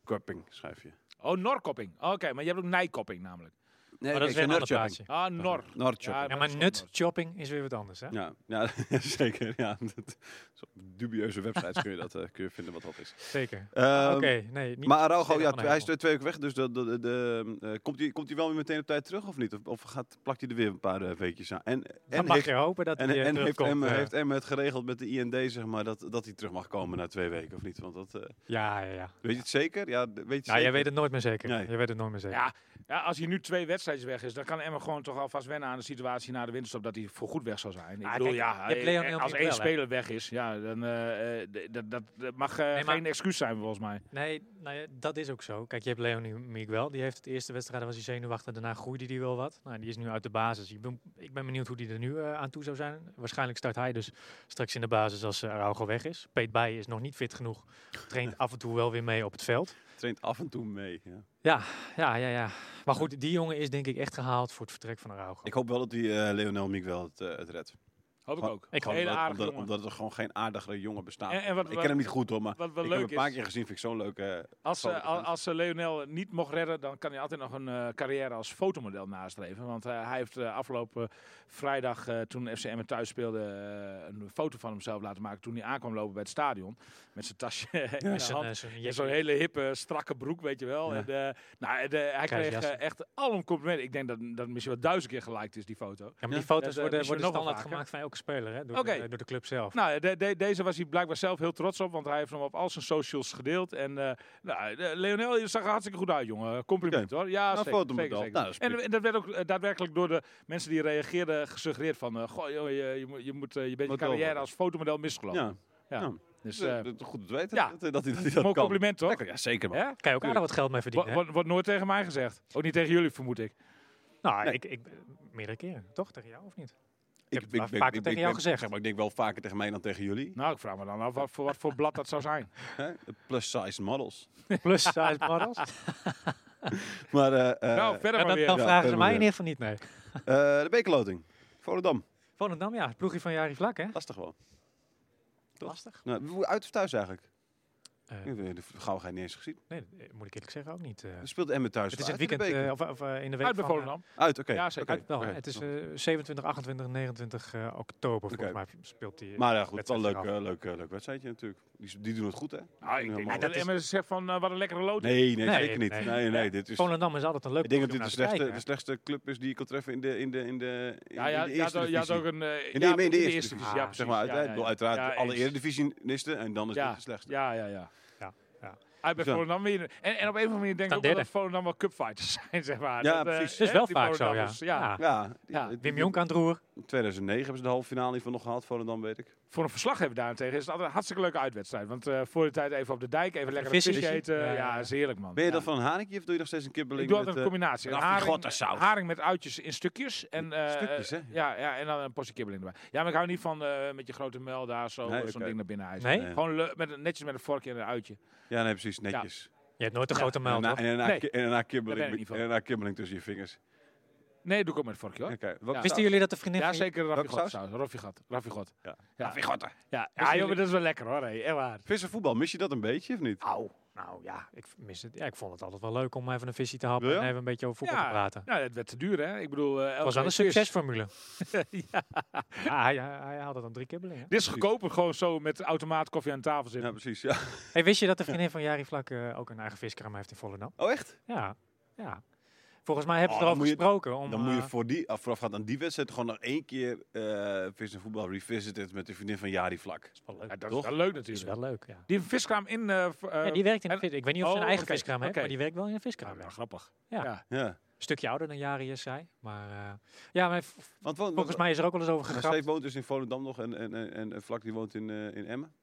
Speaker 3: Norkopping schrijf je.
Speaker 4: Oh, Norkopping. Oké, maar je hebt ook Nijkopping namelijk.
Speaker 3: Nee,
Speaker 2: Maar Oh, dat is weer een ander plaatje.
Speaker 4: Ah, Nor.
Speaker 3: Norchopping.
Speaker 2: Ja,
Speaker 4: dat
Speaker 2: maar
Speaker 4: is
Speaker 2: nut,
Speaker 4: wel
Speaker 2: shopping is weer wat anders, hè?
Speaker 3: Ja, ja, zeker. Ja, dat is op dubieuze websites kun je dat eh, kun je vinden wat dat is.
Speaker 2: Zeker.
Speaker 3: Ehm,
Speaker 2: Ah, Oké, nee. Niet
Speaker 3: maar Araujo,
Speaker 2: Stefan
Speaker 3: ja,
Speaker 2: van
Speaker 3: hij is
Speaker 2: Heuvel.
Speaker 3: twee, twee weken weg, dus dat dat- dat, eh, eh, komt hij komt hij wel weer meteen op tijd terug of niet? Of, of gaat, plakt hij er weer een paar eh, weekjes aan? En,
Speaker 2: Dan
Speaker 3: en
Speaker 2: mag
Speaker 3: heeft,
Speaker 2: je hopen dat
Speaker 3: en,
Speaker 2: hij eh,
Speaker 3: en heeft,
Speaker 2: terugkomt,
Speaker 3: Emme,
Speaker 2: eh.
Speaker 3: heeft Emme het geregeld met de IND, zeg maar, dat, dat hij terug mag komen na twee weken of niet? Want dat, eh,
Speaker 2: Ja, ja, ja.
Speaker 3: weet je het zeker? Ja, d- weet je het
Speaker 2: Nou, jij
Speaker 3: zeker?
Speaker 2: weet het nooit meer zeker.
Speaker 3: Nee.
Speaker 2: Je weet het nooit meer zeker.
Speaker 4: Ja, ja, als hij nu twee wedstrijden weg is, dan kan Emma gewoon toch alvast wennen aan de situatie na de winterstop dat hij voorgoed weg zou zijn. Ik
Speaker 2: Ah,
Speaker 4: bedoel,
Speaker 2: kijk, je
Speaker 4: ja,
Speaker 2: hebt
Speaker 4: eh,
Speaker 2: Leon
Speaker 4: eh,
Speaker 2: heel
Speaker 4: als
Speaker 2: veel
Speaker 4: één
Speaker 2: wel, hè?
Speaker 4: speler weg is, ja, dan eh, eh, d- dat, dat, dat mag eh,
Speaker 2: maar-
Speaker 4: geen excuus zijn volgens mij.
Speaker 2: Nee, nou ja, dat is ook zo. Kijk, je hebt Leonie Miguel. Die heeft het eerste wedstrijd, was hij zenuwachtig. Daarna groeide die wel wat. Nou, die is nu uit de basis. Ik ben, ik ben benieuwd hoe die er nu eh, aan toe zou zijn. Waarschijnlijk start hij dus straks in de basis als eh, Araujo weg is. Peet Bij is nog niet fit genoeg. Traint af en toe wel weer mee op het veld.
Speaker 3: het traint af en toe mee. Ja.
Speaker 2: Ja, ja, ja. Maar goed, die jongen is denk ik echt gehaald voor het vertrek van Araujo.
Speaker 3: Ik hoop wel dat die eh, Leonel Miguel het, eh, het redt.
Speaker 4: Hoop ik
Speaker 3: Gewoon-
Speaker 4: ook.
Speaker 2: ik
Speaker 4: Ik
Speaker 2: gewoon
Speaker 4: Hele
Speaker 3: omdat,
Speaker 4: aardige
Speaker 3: omdat,
Speaker 4: jongen.
Speaker 3: omdat er gewoon geen aardigere jongen bestaat.
Speaker 4: En- en wat-
Speaker 3: ik
Speaker 4: wat-
Speaker 3: ken hem niet goed hoor, maar
Speaker 4: Wat wel
Speaker 3: ik heb hem
Speaker 4: leuk
Speaker 3: een paar
Speaker 4: is,
Speaker 3: keer gezien. Vind ik zo'n leuke...
Speaker 4: als,
Speaker 3: zal
Speaker 4: eh,
Speaker 3: ik
Speaker 4: al-
Speaker 3: gaan.
Speaker 4: als eh, Leonel niet mocht redden, dan kan hij altijd nog een eh, carrière als fotomodel nastreven. Want eh, hij heeft eh, afgelopen vrijdag, eh, toen FCM thuis speelde, eh, een foto van hemzelf laten maken toen hij aankwam lopen bij het stadion. Met zijn tasje in
Speaker 2: Met
Speaker 4: zijn
Speaker 2: zijn,
Speaker 4: hand.
Speaker 2: eh, zijn
Speaker 4: Ja,
Speaker 2: jekkie.
Speaker 4: Zo'n hele hippe, strakke broek, weet je wel.
Speaker 3: Ja.
Speaker 4: En, eh, nou, en, eh, hij kreeg
Speaker 2: Kruisjassen.
Speaker 4: eh, echt alom complimenten. Ik denk dat dat misschien wel duizend keer geliked is, die foto.
Speaker 2: Ja, maar die
Speaker 4: Ja,
Speaker 2: foto's
Speaker 4: dat, eh,
Speaker 2: worden,
Speaker 4: is er
Speaker 2: worden
Speaker 4: nog wel
Speaker 2: standaard
Speaker 4: vaker.
Speaker 2: gemaakt van elke speler, hè? Door,
Speaker 4: Oké.
Speaker 2: de, door de club zelf.
Speaker 4: Nou, de- de- deze was hij blijkbaar zelf heel trots op, want hij heeft hem op al zijn socials gedeeld. En eh nou, de- Leonel je zag er hartstikke goed uit, jongen. Compliment hoor. Ja,
Speaker 3: Nou,
Speaker 4: zeker,
Speaker 3: fotomodel.
Speaker 4: zeker, zeker.
Speaker 3: Nou, dat is
Speaker 4: en, en dat werd ook eh, daadwerkelijk door de mensen die reageerden gesuggereerd van... eh, goh, joh, je, je, moet- je, moet, eh, je bent je
Speaker 3: Moet
Speaker 4: carrière
Speaker 3: wel.
Speaker 4: als fotomodel misgelopen.
Speaker 3: Ja,
Speaker 4: Dus
Speaker 3: eh,
Speaker 4: eh,
Speaker 3: goed om te weten
Speaker 4: ja.
Speaker 3: dat, dat, hij- dat hij dat
Speaker 4: mooi
Speaker 3: kan.
Speaker 4: compliment toch?
Speaker 3: Lekker, ja zeker man.
Speaker 4: Hè?
Speaker 2: Kan je ook aardig wat geld mee verdienen.
Speaker 4: Wordt
Speaker 2: hè?
Speaker 4: wordt- wordt nooit tegen mij gezegd. Ook niet tegen jullie, vermoed ik. eh,
Speaker 2: Nou,
Speaker 3: Nee.
Speaker 2: ik, ik, meerdere keren. Toch? Tegen jou of niet?
Speaker 3: Ik,
Speaker 2: heb het vaker tegen jou
Speaker 3: ben-
Speaker 2: gezegd.
Speaker 3: zeg maar, ik denk wel vaker tegen mij dan tegen jullie.
Speaker 4: Nou, ik vraag me dan af wat voor, wat voor blad dat zou zijn.
Speaker 3: Hè? Plus size models.
Speaker 2: Plus
Speaker 4: eh,
Speaker 2: size models.
Speaker 3: Maar eh, eh,
Speaker 4: nou,
Speaker 2: Ja,
Speaker 4: verder maar
Speaker 2: dan,
Speaker 4: weer.
Speaker 2: dan
Speaker 3: Ja,
Speaker 2: vragen ze
Speaker 3: verder
Speaker 2: mij in
Speaker 3: weer.
Speaker 2: ieder geval niet, nee.
Speaker 3: eh, de bekerloting. Volendam.
Speaker 2: Volendam, ja. Het ploegje van Jari Vlak, hè?
Speaker 3: Lastig wel. Toch?
Speaker 2: Lastig.
Speaker 3: Nou, hoe- uit of thuis eigenlijk?
Speaker 2: Eh,
Speaker 3: Ik heb de gauwigheid niet eens gezien.
Speaker 2: nee, eh, moet ik eerlijk zeggen, ook niet. eh.
Speaker 3: We speelden Emmen thuis.
Speaker 2: het is
Speaker 3: wel
Speaker 2: het
Speaker 3: Dus uit in
Speaker 2: weekend,
Speaker 3: de beker.
Speaker 2: eh, of, of eh, in de week
Speaker 4: Uit bij
Speaker 2: van, eh,
Speaker 4: Volendam.
Speaker 3: uit, oké.
Speaker 4: ja, zeker.
Speaker 3: oké,
Speaker 2: uit wel, hè.
Speaker 3: oké.
Speaker 2: Het is eh, 27, 28, 29 eh, oktober, volgens
Speaker 3: Oké.
Speaker 2: mij speelt die. eh,
Speaker 3: maar ja, goed, het is wel een leuk,
Speaker 2: wedstrijd
Speaker 3: eh, leuk, eh, leuk wedstrijdje natuurlijk. Die, die doen het goed, hè?
Speaker 4: Ah, ik
Speaker 3: Doen
Speaker 4: denk
Speaker 3: helemaal
Speaker 4: dat
Speaker 3: goed.
Speaker 4: Emmen zegt van, eh, wat een lekkere loting.
Speaker 3: Nee, nee,
Speaker 2: Nee,
Speaker 3: zeker niet.
Speaker 2: nee.
Speaker 3: Nee, nee, dit is...
Speaker 2: Volendam is altijd een leuk
Speaker 3: Ik denk dat
Speaker 2: ploeg
Speaker 3: dit
Speaker 2: om
Speaker 3: de
Speaker 2: naar
Speaker 3: slechtste,
Speaker 2: te
Speaker 3: de
Speaker 2: kijken.
Speaker 3: slechtste club is die je kan treffen in de, in de, in de, in
Speaker 4: Ja, ja,
Speaker 3: de
Speaker 4: ja,
Speaker 3: eerste
Speaker 4: ja, ja,
Speaker 3: divisie.
Speaker 4: ook een... eh,
Speaker 3: In de,
Speaker 4: ja,
Speaker 3: in de eerste, divisie, ja,
Speaker 4: divisie, ja,
Speaker 3: zeg maar. Uit,
Speaker 4: precies.
Speaker 3: hè?
Speaker 4: Ja,
Speaker 3: Ik
Speaker 4: ja,
Speaker 3: bedoel,
Speaker 4: ja.
Speaker 3: uiteraard
Speaker 4: Ja,
Speaker 3: alle
Speaker 4: eens.
Speaker 3: eredivisionisten en dan is
Speaker 4: Ja.
Speaker 3: dit de slechtste.
Speaker 4: Ja, ja, ja.
Speaker 2: Ja, ja.
Speaker 4: Uit bij
Speaker 3: Zo.
Speaker 4: Volendam weer. En, en op een of andere manier denk ik
Speaker 2: Staan
Speaker 4: ook wel
Speaker 2: derde.
Speaker 4: dat Volendam wel cupfighters zijn, zeg maar.
Speaker 3: Ja,
Speaker 4: dat, eh,
Speaker 3: precies.
Speaker 2: Het is
Speaker 4: hè,
Speaker 2: wel
Speaker 4: die
Speaker 2: vaak zo, ja.
Speaker 4: Volendammers, ja.
Speaker 3: Ja, die-
Speaker 4: Ja,
Speaker 3: die-
Speaker 2: Wim Jonk aan het roer.
Speaker 3: 2009 hebben ze de halve finale hiervan nog gehad, Volendam weet ik.
Speaker 4: Voor een verslaggever daarentegen is het altijd een hartstikke leuke uitwedstrijd. Want eh, voor de tijd even op de dijk, even lekker een
Speaker 2: vissen.
Speaker 4: visje eten.
Speaker 2: Ja,
Speaker 4: Ja,
Speaker 2: ja, ja.
Speaker 4: is heerlijk, man.
Speaker 3: Ben je
Speaker 4: Ja.
Speaker 3: dat van een haringje of doe je nog steeds een kibbeling?
Speaker 4: Ik doe altijd
Speaker 3: met, eh,
Speaker 4: een combinatie. Een
Speaker 3: raffie
Speaker 4: haring,
Speaker 3: gottensaus.
Speaker 4: haring met uitjes in stukjes. En, eh,
Speaker 3: Stukjes, hè?
Speaker 4: eh, Ja, ja, en dan een portie kibbeling erbij. Ja, maar ik hou niet van eh, met je grote mel daar zo,
Speaker 3: Nee,
Speaker 4: eh, zo'n
Speaker 3: oké.
Speaker 4: ding naar binnen hijsen.
Speaker 2: Nee?
Speaker 3: Nee.
Speaker 4: Gewoon le- met, een- netjes met een vorkje en een uitje.
Speaker 3: Ja, nee, precies, netjes.
Speaker 2: Je hebt nooit een
Speaker 4: Ja,
Speaker 2: grote
Speaker 3: En
Speaker 2: muil,
Speaker 3: daarna-
Speaker 2: toch?
Speaker 3: en daarna
Speaker 4: Nee.
Speaker 3: ki- en daarna
Speaker 4: Daar ben ik
Speaker 3: kibbeling
Speaker 4: niet
Speaker 3: en
Speaker 4: van.
Speaker 3: daarna kibbeling tussen je vingers.
Speaker 4: Nee, doe ik ook met een vorkje hoor.
Speaker 3: Oké, welke
Speaker 4: Ja.
Speaker 3: saus?
Speaker 2: Wisten jullie dat de vriendin
Speaker 4: Ja,
Speaker 2: van je-
Speaker 4: zeker Raffi
Speaker 3: Welke
Speaker 4: God saus. Raffi God. Raffi God.
Speaker 3: Ja.
Speaker 4: Ja,
Speaker 3: Raffie gotten.
Speaker 4: ja.
Speaker 2: Wisten
Speaker 4: ja
Speaker 2: jullie-
Speaker 4: joh, maar dat is wel lekker hoor. Hey. Echt waar.
Speaker 3: Visservoetbal, mis je dat een beetje of niet?
Speaker 2: Au. Nou ja, ik mis het. Ja, ik vond het altijd wel leuk om even een visje te happen
Speaker 3: Wil je?
Speaker 2: en even een beetje over voetbal
Speaker 4: Ja.
Speaker 2: te praten.
Speaker 4: Nou, dat werd te duur hè. Ik bedoel, eh,
Speaker 2: Het was wel
Speaker 4: elke
Speaker 2: een
Speaker 4: quiz.
Speaker 2: succesformule. ja. hij, hij, hij had het dan drie kibbelingen.
Speaker 4: Dit is goedkoper, gewoon zo met automaat koffie aan tafel zitten.
Speaker 3: Ja, precies. Ja.
Speaker 2: Hey, wist je dat de vriendin van Jari Vlak eh, ook een eigen viskraam heeft in Volendam?
Speaker 3: Oh, echt?
Speaker 2: Ja, ja. Volgens mij hebben ze
Speaker 3: Oh, dan
Speaker 2: erover
Speaker 3: moet je-
Speaker 2: gesproken. Om,
Speaker 3: Dan moet je
Speaker 2: eh,
Speaker 3: voor die, af- voorafgaand aan die wedstrijd gewoon nog één keer eh vis en voetbal revisited met de vriendin van Jari Vlak.
Speaker 2: is wel leuk.
Speaker 4: Ja, dat
Speaker 3: Toch?
Speaker 4: is wel leuk
Speaker 2: Die is
Speaker 4: natuurlijk.
Speaker 2: wel leuk, ja.
Speaker 4: Die viskraam in... eh, v- eh,
Speaker 2: Ja, die werkt in de
Speaker 4: en-
Speaker 2: vis. Ik weet niet of ze een
Speaker 4: Oh,
Speaker 2: eigen
Speaker 4: oké,
Speaker 2: viskraam heeft,
Speaker 4: oké.
Speaker 2: maar die werkt wel in een viskraam.
Speaker 4: Nou, nou,
Speaker 2: ja.
Speaker 4: grappig.
Speaker 2: Ja.
Speaker 3: Ja.
Speaker 2: Een stukje ouder dan Jari is zij. Maar eh, ja, maar v-
Speaker 3: Want, want,
Speaker 2: volgens mij is er ook wel eens over
Speaker 3: want
Speaker 2: gegrapt.
Speaker 3: Steve woont dus in Volendam nog en, en, en, en Vlak die woont in, eh, in Emmen.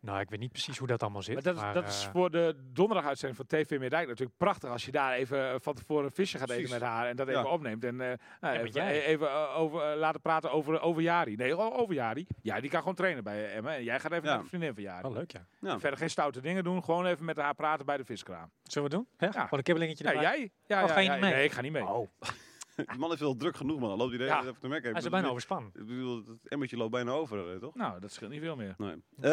Speaker 2: Nou, ik weet niet precies hoe dat allemaal zit.
Speaker 4: Maar dat, is-
Speaker 2: maar,
Speaker 4: dat is
Speaker 2: eh,
Speaker 4: voor de donderdaguitzending van TV Meerdijk natuurlijk prachtig. Als je daar even eh, van tevoren een visje gaat
Speaker 3: Precies.
Speaker 4: eten met haar en dat
Speaker 3: Ja.
Speaker 4: even opneemt. En eh, nou,
Speaker 2: maar
Speaker 4: even,
Speaker 2: jij-
Speaker 4: even, eh, over, eh, laten praten over, over Jari. Nee, o- over Jari. Ja, die kan gewoon trainen bij eh, Emma. En jij gaat even
Speaker 3: Ja.
Speaker 4: naar de vriendin van Jari.
Speaker 2: wel Oh, leuk, ja.
Speaker 3: Ja.
Speaker 4: Verder geen stoute dingen doen. Gewoon even met haar praten bij de viskraam.
Speaker 2: Zullen we het doen? Ja.
Speaker 4: Ja.
Speaker 2: Gewoon een kibbelingetje
Speaker 4: Ja, Oh.
Speaker 2: erbij.
Speaker 4: jij? Ja,
Speaker 2: Oh,
Speaker 4: ja,
Speaker 2: ga je
Speaker 4: ja,
Speaker 2: niet mee? Oh.
Speaker 4: Nee, ik ga niet mee.
Speaker 3: Die man heeft wel druk genoeg, man. Dan loopt hij de hele
Speaker 4: Ja.
Speaker 3: tijd even te merken.
Speaker 2: Hij is er bijna overspannen.
Speaker 3: Ik bedoel, het emmertje loopt bijna over, eh, toch?
Speaker 4: Nou, dat scheelt niet veel meer.
Speaker 3: Nee.
Speaker 2: Liep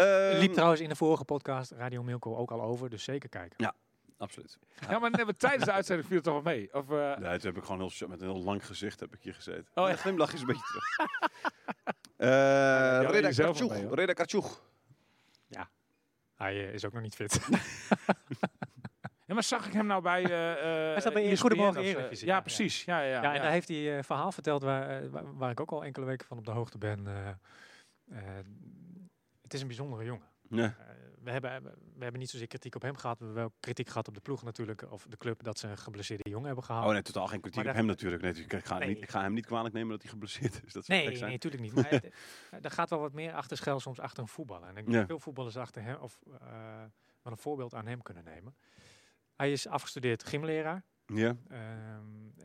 Speaker 3: Ehm,
Speaker 2: trouwens in de vorige podcast Radio Milko ook al over, dus zeker kijken.
Speaker 3: Absoluut.
Speaker 4: Ja, maar nee, maar tijdens de uitzending viel het toch wel mee? Of, eh,
Speaker 3: Nee, toen heb ik gewoon heel, sh- met een heel lang gezicht heb ik hier gezeten.
Speaker 4: Oh,
Speaker 3: Oh,
Speaker 4: ja.
Speaker 3: ja. glimlach is een beetje terug. Eh,
Speaker 4: je
Speaker 3: Reda
Speaker 4: jezelf
Speaker 3: Kartjoeg.
Speaker 4: wel bij, hoor.
Speaker 3: Reda Kartjoeg.
Speaker 2: Hij eh, is ook nog niet fit.
Speaker 4: Ja, maar zag ik hem nou bij... eh
Speaker 2: Hij
Speaker 4: eh
Speaker 2: zat bij
Speaker 4: ESPN
Speaker 2: Goedemorgen
Speaker 4: of zo?
Speaker 2: Eredivisie, ja,
Speaker 4: Ja,
Speaker 2: ja.
Speaker 4: precies. Ja, ja, ja.
Speaker 2: Ja, en daar heeft hij eh, verhaal verteld waar, eh, waar, waar ik ook al enkele weken van op de hoogte ben. eh, eh, het is een bijzondere jongen.
Speaker 3: Ja.
Speaker 2: Eh, we, hebben, we hebben niet zozeer kritiek op hem gehad. We hebben wel kritiek gehad op de ploeg natuurlijk. Of de club dat ze een geblesseerde jongen hebben gehaald.
Speaker 3: Oh nee, totaal geen kritiek
Speaker 2: Maar
Speaker 3: op hem natuurlijk. Nee, natuurlijk, ik, ga hem
Speaker 2: Nee.
Speaker 3: niet, ik ga hem niet kwalijk nemen dat hij geblesseerd is. Dat zou
Speaker 2: Nee,
Speaker 3: gek
Speaker 2: nee,
Speaker 3: zijn.
Speaker 2: natuurlijk niet. Maar het, eh, er gaat wel wat meer achter schuil soms achter een voetballer. En ik denk
Speaker 3: Ja.
Speaker 2: dat veel voetballers achter hem, of eh, wel een voorbeeld aan hem kunnen nemen. Hij is afgestudeerd gymleraar.
Speaker 3: Ja.
Speaker 2: ehm,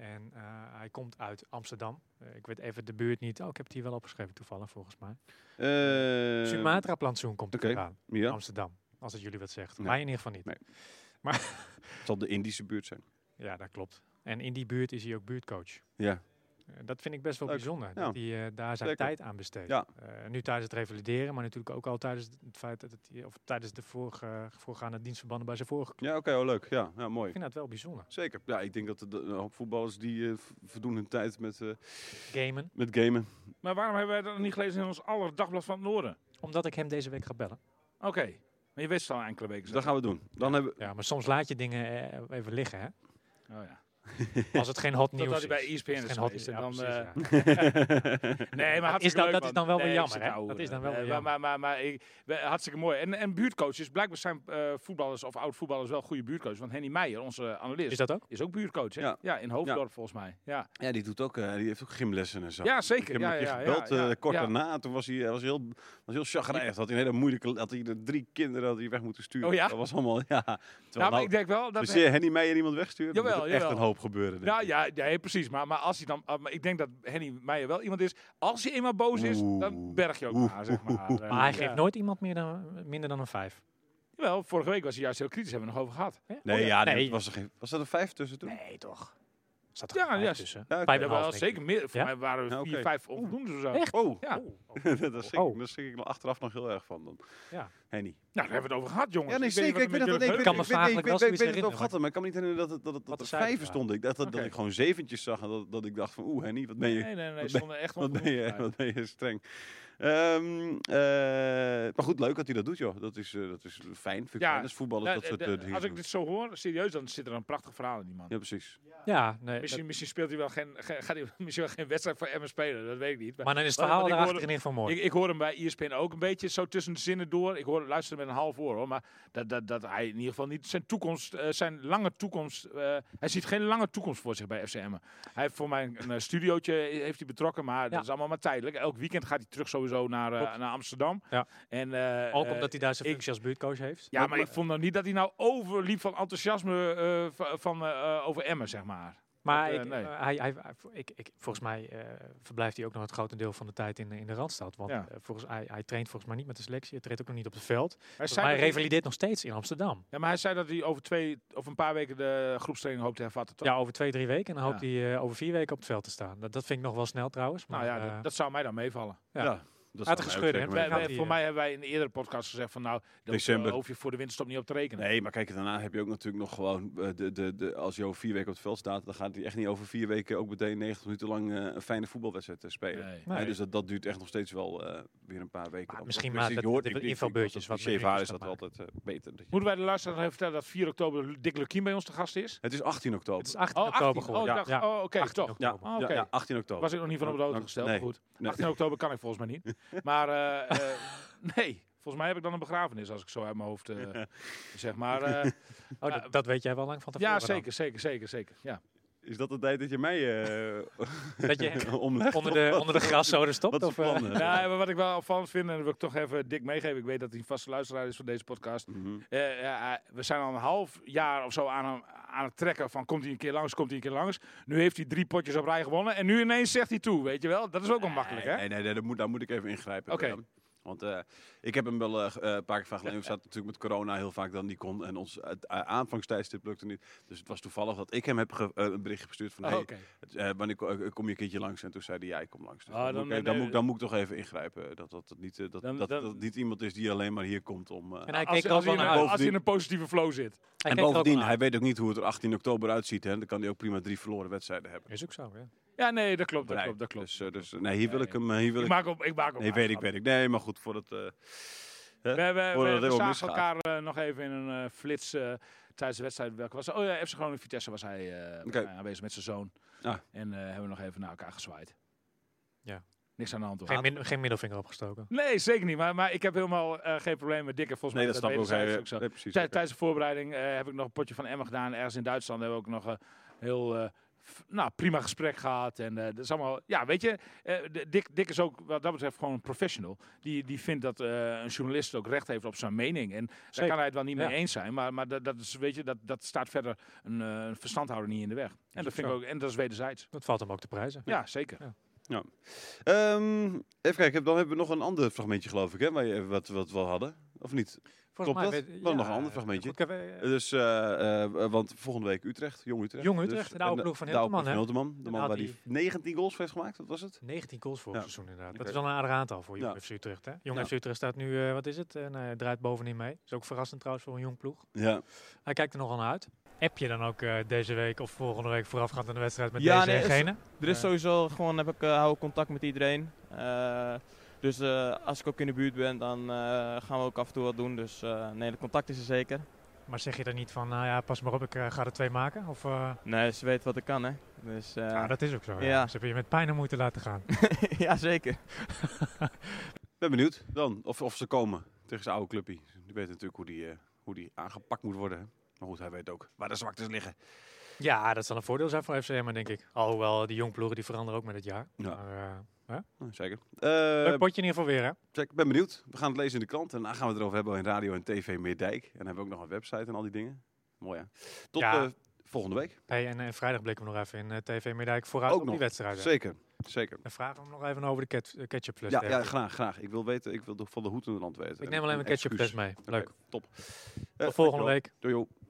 Speaker 2: en eh, hij komt uit Amsterdam. Eh, ik weet even de buurt niet. Oh, ik heb het hier wel opgeschreven toevallig volgens mij.
Speaker 3: Eh,
Speaker 2: Sumatra plantsoen komt er
Speaker 3: Ehm, oké.
Speaker 2: aan.
Speaker 3: Eh, Ja.
Speaker 4: Oh.
Speaker 2: Amsterdam. Als het jullie wat zegt.
Speaker 3: Nee.
Speaker 2: Mij in ieder geval niet.
Speaker 3: Nee. Het zal de Indische buurt zijn.
Speaker 2: Ja, dat klopt. En in die buurt is hij ook buurtcoach.
Speaker 3: Ja.
Speaker 2: Eh, Dat vind ik best wel
Speaker 3: Leuk.
Speaker 2: bijzonder,
Speaker 3: Ja.
Speaker 2: dat hij eh, daar zijn
Speaker 3: Zeker.
Speaker 2: tijd aan besteedt.
Speaker 3: Ja.
Speaker 2: Eh, nu tijdens het revalideren, maar natuurlijk ook al tijdens het feit dat hij, of tijdens de vorige, voorgaande dienstverbanden bij zijn vorige club.
Speaker 3: Ja, oké, oh, leuk. Ja, ja, mooi.
Speaker 2: Ik vind dat wel bijzonder.
Speaker 3: Zeker. Ja, ik denk dat er de- een hoop voetballers die eh, v- verdoen hun tijd met, eh,
Speaker 2: Gamen,
Speaker 3: met gamen.
Speaker 4: Maar waarom hebben wij dat nog niet gelezen in ons aller dagblad van het Noorden?
Speaker 2: omdat ik hem deze week ga bellen.
Speaker 4: Oké, maar je wist het al enkele weken.
Speaker 3: Dus dat gaan we doen. Dan hebben we...
Speaker 2: Ja, maar soms laat je dingen eh, even liggen, hè?
Speaker 4: we. Oh, ja.
Speaker 2: Als het geen hot nieuws
Speaker 4: Totdat
Speaker 2: is.
Speaker 4: hij bij E ESPN
Speaker 2: Als het
Speaker 4: is
Speaker 2: geen hot nieuws-
Speaker 4: geweest, dan,
Speaker 2: ja, precies, ja.
Speaker 4: eh, Nee, maar
Speaker 2: dat
Speaker 4: hartstikke
Speaker 2: dan-
Speaker 4: leuk,
Speaker 2: dat is
Speaker 4: man.
Speaker 2: dan wel weer
Speaker 4: Nee, ik
Speaker 2: jammer,
Speaker 4: zit
Speaker 2: hè?
Speaker 4: te ouwen.
Speaker 2: Dat is dan wel
Speaker 4: Eh,
Speaker 2: weer
Speaker 4: maar-
Speaker 2: jammer.
Speaker 4: Maar, maar, maar, ik, we- hartstikke mooi. En, en buurtcoaches, blijkbaar zijn eh, voetballers of oud-voetballers wel goede buurtcoaches. Want Henny Meijer, onze analist,
Speaker 2: Is
Speaker 4: is,
Speaker 2: dat ook?
Speaker 4: ook buurtcoach. Hè?
Speaker 3: Ja.
Speaker 4: Ja. in Hoofddorp volgens mij. Ja,
Speaker 3: Ja, die, doet ook, eh, die heeft ook gymlessen en zo.
Speaker 4: ja
Speaker 3: Ik
Speaker 4: zeker.
Speaker 3: heb hem
Speaker 4: Ja,
Speaker 3: een keer
Speaker 4: ja, ja,
Speaker 3: gebeld
Speaker 4: ja,
Speaker 3: eh, kort
Speaker 4: ja.
Speaker 3: daarna. Toen was hij, hij was heel, was heel chagrijnig. Had hij een hele moeilijke... Had hij de drie kinderen had hij weg moeten sturen.
Speaker 4: Oh ja?
Speaker 3: Dat was allemaal... Ja. Terwijl,
Speaker 4: Nou, maar
Speaker 3: nou,
Speaker 4: ik denk wel dat...
Speaker 3: dus je Henny Meijer iemand wegstuurt, dan moet
Speaker 4: Jawel,
Speaker 3: er echt
Speaker 4: jawel.
Speaker 3: een hoop gebeuren. denk
Speaker 4: Nou
Speaker 3: ik.
Speaker 4: ja, ja, nee, precies. Maar, maar als hij dan, ah, maar ik denk dat Henny Meijer wel iemand is. Als hij eenmaal boos is,
Speaker 3: Oeh.
Speaker 4: dan berg je ook
Speaker 3: Oeh,
Speaker 4: maar, zeg maar. Eh,
Speaker 2: Maar hij geeft
Speaker 4: ja.
Speaker 2: nooit iemand meer dan, minder dan een vijf.
Speaker 4: Jawel, vorige week was hij juist heel kritisch, hebben we nog over gehad.
Speaker 3: Nee,
Speaker 2: Oh,
Speaker 3: ja, nee.
Speaker 2: nee.
Speaker 3: dat Was, er geen, was dat een vijf tussen toen?
Speaker 2: Nee, toch? Er Zat er
Speaker 4: Ja,
Speaker 2: ja,
Speaker 4: ja,
Speaker 2: vijf
Speaker 4: s-
Speaker 2: tussen?
Speaker 3: Ja, oké.
Speaker 2: Vijf en een
Speaker 4: Ja, wel
Speaker 2: half, denk ik.
Speaker 4: zeker meer. Voor
Speaker 2: Ja?
Speaker 4: mij waren er
Speaker 3: Ja,
Speaker 4: vier,
Speaker 3: oké.
Speaker 4: vijf onvoldoende of zo.
Speaker 2: Echt?
Speaker 3: Oh,
Speaker 4: Ja.
Speaker 2: Oeh.
Speaker 3: daar schrik, ik,
Speaker 2: Oh.
Speaker 3: daar schrik ik nog achteraf nog heel erg van dan.
Speaker 2: Ja.
Speaker 3: Henny.
Speaker 4: Nou, daar hebben we het over gehad, jongens.
Speaker 3: Ja, nee,
Speaker 4: weet niet
Speaker 3: zeker. Ik
Speaker 4: wat
Speaker 3: weet dat
Speaker 4: er met
Speaker 3: ik
Speaker 4: jullie
Speaker 3: weet-
Speaker 2: kan
Speaker 3: ik
Speaker 2: me
Speaker 4: gebeurt.
Speaker 3: weet-
Speaker 2: vaak
Speaker 3: ik weet-
Speaker 2: nog wel
Speaker 3: ik weet
Speaker 2: zoiets
Speaker 3: het
Speaker 2: herinneren,
Speaker 3: nog hadden, maar ik kan me niet herinneren dat het, dat het,
Speaker 2: Wat
Speaker 3: dat er
Speaker 2: de cijfers
Speaker 3: vijven
Speaker 2: waren.
Speaker 3: stonden. Ik dacht dat, dat
Speaker 4: Oké.
Speaker 3: ik gewoon zeventjes zag en dat, dat ik dacht van oeh Henny, wat ben je,
Speaker 4: Nee, nee, nee.
Speaker 3: Wat
Speaker 4: Ze
Speaker 3: ben-
Speaker 4: stonden echt
Speaker 3: wat ben je,
Speaker 4: onvoldoende.
Speaker 3: wat ben je streng. Ehm, eh, maar goed, leuk dat hij dat doet joh. Dat is, eh, dat is fijn. Vind ik
Speaker 4: Ja,
Speaker 3: fijn als voetballers
Speaker 4: Nou,
Speaker 3: dat soort
Speaker 4: de-
Speaker 3: eh, dingen
Speaker 4: Als ik dus-
Speaker 3: doen.
Speaker 4: dit zo hoor, serieus, dan zit er een prachtig verhaal in die man.
Speaker 3: Ja, precies.
Speaker 2: Ja, nee. dat-
Speaker 4: Misschien, misschien speelt hij wel geen, ge- gaat hij misschien wel geen wedstrijd voor Emmen spelen, E, dat weet ik niet. Maar
Speaker 2: maar dan is het
Speaker 4: Wat-
Speaker 2: verhaal
Speaker 4: wat ik
Speaker 2: erachter
Speaker 4: hoorde-
Speaker 2: in ieder geval mooi.
Speaker 4: Ik, ik hoor hem bij E ESPN ook een beetje zo tussen de zinnen door. Ik hoor, luister met een half oor hoor. Maar dat, dat, dat hij in ieder geval niet zijn toekomst, eh, zijn lange toekomst. eh, hij ziet geen lange toekomst voor zich bij FCM. Hij heeft voor mij een, een eh, studiootje heeft hij betrokken, maar
Speaker 2: Ja.
Speaker 4: dat is allemaal maar tijdelijk. Elk weekend gaat hij terug sowieso naar, eh,
Speaker 2: Klopt.
Speaker 4: naar Amsterdam.
Speaker 2: Ja.
Speaker 4: En, eh,
Speaker 2: Ook
Speaker 4: eh,
Speaker 2: omdat hij daar zijn
Speaker 4: ik-
Speaker 2: functie als buurtcoach heeft.
Speaker 4: ja, maar ik vond nou niet dat hij nou overliep van enthousiasme eh, va- van, eh, eh, over Emmen, zeg maar.
Speaker 2: Maar
Speaker 4: dat, eh,
Speaker 2: ik,
Speaker 4: nee.
Speaker 2: eh, hij, hij, hij- ik, ik, volgens mij eh, verblijft hij ook nog het grote deel van de tijd in, in de Randstad. Want
Speaker 4: Ja.
Speaker 2: eh, volgens, hij, hij traint volgens mij niet met de selectie. Hij treedt ook nog niet op het veld.
Speaker 4: Hij
Speaker 2: Maar hij
Speaker 4: dat hij-
Speaker 2: revalideert nog steeds in Amsterdam.
Speaker 4: ja, maar hij zei dat hij over twee of een paar weken de groepstraining hoopt te hervatten. Toch?
Speaker 2: Ja, over twee, drie weken. En dan hoopt
Speaker 4: Ja.
Speaker 2: hij eh, over vier weken op het veld te staan. Dat, dat vind ik nog wel snel trouwens. Maar,
Speaker 4: nou ja,
Speaker 2: eh,
Speaker 4: dat, dat zou mij dan meevallen.
Speaker 2: Ja.
Speaker 3: dat
Speaker 2: Had
Speaker 3: zou
Speaker 2: gescheurd,
Speaker 3: mij ook
Speaker 2: hè?
Speaker 3: zeker
Speaker 2: Wij-
Speaker 3: meevallen.
Speaker 2: gaat
Speaker 4: Wij- wij-
Speaker 2: die,
Speaker 4: voor
Speaker 2: eh,
Speaker 4: mij hebben wij in een eerdere podcast gezegd van nou, dan
Speaker 3: December.
Speaker 4: eh, hoef je voor de winst opnieuw op te rekenen.
Speaker 3: Nee, maar kijk, daarna heb je ook natuurlijk nog gewoon... eh, De, de, de, als je over vier weken op het veld staat, dan gaat hij echt niet over vier weken ook meteen 90 minuten lang eh, een fijne voetbalwedstrijd eh, spelen.
Speaker 4: Nee.
Speaker 2: Nee.
Speaker 3: Hè, dus dat, dat duurt echt nog steeds wel eh, weer een paar weken. dus
Speaker 2: Maar
Speaker 3: Of-
Speaker 2: misschien
Speaker 3: of-
Speaker 2: maar
Speaker 3: ik
Speaker 2: dat-
Speaker 3: hoor-
Speaker 2: dat
Speaker 3: ik-
Speaker 2: de
Speaker 3: ik- ik-
Speaker 2: infobeurtjes
Speaker 3: als
Speaker 2: wat
Speaker 3: cliché
Speaker 2: meer
Speaker 3: verhaal is
Speaker 2: indruk
Speaker 3: dat
Speaker 2: gaan
Speaker 3: altijd eh, beter. Dat je-
Speaker 4: Moeten wij de luisteraar nog even vertellen dat 4 oktober Dick Lukien bij ons te gast is?
Speaker 3: het is 18 oktober.
Speaker 2: het is 18 oktober
Speaker 4: 18.
Speaker 2: geworden.
Speaker 4: Oh, ik dacht- oh, oké,
Speaker 2: 18
Speaker 4: toch.
Speaker 3: ja,
Speaker 2: oktober.
Speaker 4: Ah,
Speaker 3: ja,
Speaker 4: oké.
Speaker 3: ja, 18 oktober.
Speaker 4: Was ik nog niet van op de
Speaker 3: Dan-
Speaker 4: hoogte
Speaker 3: dan-
Speaker 4: gesteld,
Speaker 3: nee.
Speaker 4: maar goed.
Speaker 3: Nee.
Speaker 4: 18 oktober kan ik volgens mij niet. Maar eh, eh, nee, volgens mij heb ik dan een begrafenis als ik zo uit mijn hoofd eh, zeg maar. eh,
Speaker 2: Oh, dat, dat weet jij wel lang van tevoren.
Speaker 4: ja,
Speaker 2: dan.
Speaker 4: zeker, zeker, zeker, zeker. Ja.
Speaker 3: Is dat de tijd dat je mij
Speaker 2: Dat je
Speaker 3: eh omlegt?
Speaker 2: onder de, onder de graszoden stopt?
Speaker 3: Wat is je
Speaker 2: of, eh,
Speaker 3: plan? eh?
Speaker 4: Ja, maar wat ik wel opvallend vind, en dat wil ik toch even Dick meegeven. Ik weet dat hij een vaste luisteraar is van deze podcast.
Speaker 3: Mhm.
Speaker 4: Eh, ja, hij- we zijn al een half jaar of zo aan, hem- aan het trekken van komt hij een keer langs, komt hij een keer langs. Nu heeft hij drie potjes op rij gewonnen en nu ineens zegt hij toe, weet je wel. Dat is ook wel makkelijk, hè?
Speaker 3: Nee, nee, nee, daar, moet, daar moet ik even ingrijpen.
Speaker 4: Oké.
Speaker 3: Willem. Want eh, ik heb hem wel eh, ge- eh, een paar keer vaak geleden. We zaten natuurlijk met corona heel vaak dan niet kon. En ons het, eh, aanvangstijdstip lukte niet. Dus het was toevallig dat ik hem heb ge- eh, een berichtje gestuurd van...
Speaker 4: Oh,
Speaker 3: hey,
Speaker 4: oké.
Speaker 3: het, eh, wanneer ko- eh, kom je een keertje langs? En toen zei hij, ja, ik kom langs. Dus
Speaker 4: Ah,
Speaker 3: dan,
Speaker 4: dan-
Speaker 3: moet ik, even- dan,
Speaker 4: nee,
Speaker 3: moet, ik- dan moet ik toch even ingrijpen. eh, Dat, dat, dat, niet, eh, dat,
Speaker 4: Dan-
Speaker 3: dat,
Speaker 4: dan-
Speaker 3: dat het niet iemand is die alleen maar hier komt om... eh,
Speaker 2: En hij
Speaker 4: Als,
Speaker 2: keek er ook
Speaker 4: als, hij
Speaker 2: wel
Speaker 4: in
Speaker 2: naar
Speaker 4: een,
Speaker 2: uit.
Speaker 4: als hij in een positieve flow zit.
Speaker 2: Hij
Speaker 3: en
Speaker 2: keek er ook wel
Speaker 3: bovendien,
Speaker 2: naar
Speaker 3: hij weet ook niet hoe het er 18 oktober uitziet. Hè? Dan kan hij ook prima drie verloren wedstrijden hebben.
Speaker 2: uit. Is ook zo, ja.
Speaker 4: Ja, nee, dat klopt, dat klopt, dat klopt.
Speaker 3: Dus, eh, dus eh, nee, hier wil ik hem... eh, Hier wil
Speaker 4: Ik
Speaker 3: ik,
Speaker 4: maak op, ik maak op.
Speaker 3: nee, weet ik, weet ik. Nee, maar goed, voor het... eh, hè?
Speaker 4: We, we,
Speaker 3: Voordat
Speaker 4: we,
Speaker 3: het
Speaker 4: we
Speaker 3: helemaal
Speaker 4: zagen elkaar
Speaker 3: misgaat.
Speaker 4: eh, nog even in een eh, flits eh, tijdens de wedstrijd. Welke was het? Oh ja, FC Groningen Vitesse was hij eh, was
Speaker 3: Oké.
Speaker 4: hij aanwezig met zijn zoon.
Speaker 3: Ah.
Speaker 4: En eh, hebben we nog even naar elkaar gezwaaid.
Speaker 2: Ja.
Speaker 4: Niks aan de hand hoor.
Speaker 2: Geen, min- geen middelvinger opgestoken.
Speaker 4: Nee, zeker niet. Maar, maar ik heb helemaal eh, geen probleem met dikke. Volgens
Speaker 3: Nee, dat
Speaker 4: mij
Speaker 3: snap ik ook.
Speaker 4: weten zij,
Speaker 3: hè.
Speaker 4: is zo.
Speaker 3: Nee, precies.
Speaker 4: Tij- Tijdens de voorbereiding eh, heb ik nog een potje van Emmen gedaan. Ergens in Duitsland hebben we ook nog een heel eh, f- nou, prima gesprek gehad. En eh, dat is allemaal, ja, weet je, eh, de- Dick, Dick is ook wat dat betreft gewoon een professional. Die, die vindt dat eh, een journalist ook recht heeft op zijn mening. En daar
Speaker 2: Zeker,
Speaker 4: kan hij het wel niet mee
Speaker 2: ja.
Speaker 4: eens zijn. Maar, maar dat, dat, is, weet je, dat, dat staat verder een eh, een verstandhouder niet in de weg. En dat, vind ik
Speaker 2: zo.
Speaker 4: ook, en dat is wederzijds.
Speaker 2: Dat valt hem ook te prijzen.
Speaker 4: Ja, zeker.
Speaker 3: Ehm, even kijken, dan hebben we nog een ander fragmentje, geloof ik, hè, waar je, wat, wat we al hadden. Of niet?
Speaker 2: Volgens
Speaker 3: Klopt
Speaker 2: mij
Speaker 3: dat?
Speaker 2: weet-
Speaker 3: Wel nog een ander fragmentje.
Speaker 2: goed, ik heb, eh,
Speaker 3: Dus, eh, eh, want volgende week Utrecht, Jong Utrecht.
Speaker 2: Jong
Speaker 3: Dus-
Speaker 2: Utrecht, de
Speaker 3: en
Speaker 2: oude ploeg van
Speaker 3: de oude ploeg
Speaker 2: Hilterman,
Speaker 3: van Hilterman, de
Speaker 2: Dan
Speaker 3: man
Speaker 2: had
Speaker 3: waar hij
Speaker 2: hij-
Speaker 3: 19 goals voor heeft gemaakt, wat was het?
Speaker 2: 19 goals vorig
Speaker 3: Ja.
Speaker 2: seizoen inderdaad.
Speaker 3: Oké.
Speaker 2: Dat is wel een aardig aantal voor Jong
Speaker 3: Ja.
Speaker 2: FC Utrecht. Hè? Jong
Speaker 3: Ja.
Speaker 2: FC Utrecht staat nu, eh, wat is het, en hij draait bovenin mee. Is ook verrassend trouwens voor een jong ploeg.
Speaker 3: Ja.
Speaker 2: Hij kijkt er nogal naar uit. Heb je dan ook eh, deze week of volgende week voorafgaand aan de wedstrijd met
Speaker 5: Ja,
Speaker 2: deze
Speaker 5: nee,
Speaker 2: en
Speaker 5: is-
Speaker 2: gene?
Speaker 5: Er is
Speaker 2: Ja.
Speaker 5: sowieso gewoon, heb ik, eh, hou ik contact met iedereen. Eh, dus eh, als ik ook in de buurt ben, dan eh, gaan we ook af en toe wat doen. Dus eh, nee, de contact is er zeker.
Speaker 2: Maar zeg je dan niet van, nou ja, pas maar op, ik eh, ga er twee maken? Of, eh,
Speaker 5: Nee, ze weet wat ik kan, hè. Dus, eh,
Speaker 2: nou, dat is ook zo. Ja.
Speaker 5: Ja.
Speaker 2: Ze hebben je met pijn aan moeten laten gaan.
Speaker 5: ja, zeker.
Speaker 3: Ben benieuwd dan of, of ze komen tegen zijn oude clubpie. Die weet natuurlijk hoe die, eh, hoe die aangepakt moet worden. hè. Maar goed, hij weet ook waar de zwaktes liggen.
Speaker 2: ja, dat zal een voordeel zijn voor FCM, denk ik. Alhoewel, die jongploegen die veranderen ook met het jaar.
Speaker 3: Ja.
Speaker 2: Maar, eh,
Speaker 3: Nou, zeker.
Speaker 2: leuk
Speaker 3: Eh
Speaker 2: potje in ieder geval weer, hè?
Speaker 3: check, ben benieuwd. We gaan het lezen in de krant. En daarna gaan we het erover hebben in radio en tv Meerdijk. En dan hebben we ook nog een website en al die dingen. Mooi hè. Tot
Speaker 2: Ja.
Speaker 3: eh, volgende week.
Speaker 2: Hey, en, eh, vrijdag blikken we nog even in eh, TV Middijk vooruit
Speaker 3: Ook
Speaker 2: op
Speaker 3: nog.
Speaker 2: die wedstrijden.
Speaker 3: Zeker. Zeker.
Speaker 2: Dan vragen we hem nog even over de ket- eh, ketchup plus.
Speaker 3: Ja, ja, graag, graag. Ik wil weten, ik wil de- van de hoed in het land weten.
Speaker 2: Ik neem alleen
Speaker 3: Een
Speaker 2: mijn ketchup
Speaker 3: excuus.
Speaker 2: plus mee.
Speaker 3: Oké,
Speaker 2: Leuk.
Speaker 3: top. Eh,
Speaker 2: Tot volgende
Speaker 3: dankjewel.
Speaker 2: week.
Speaker 3: Doei joh.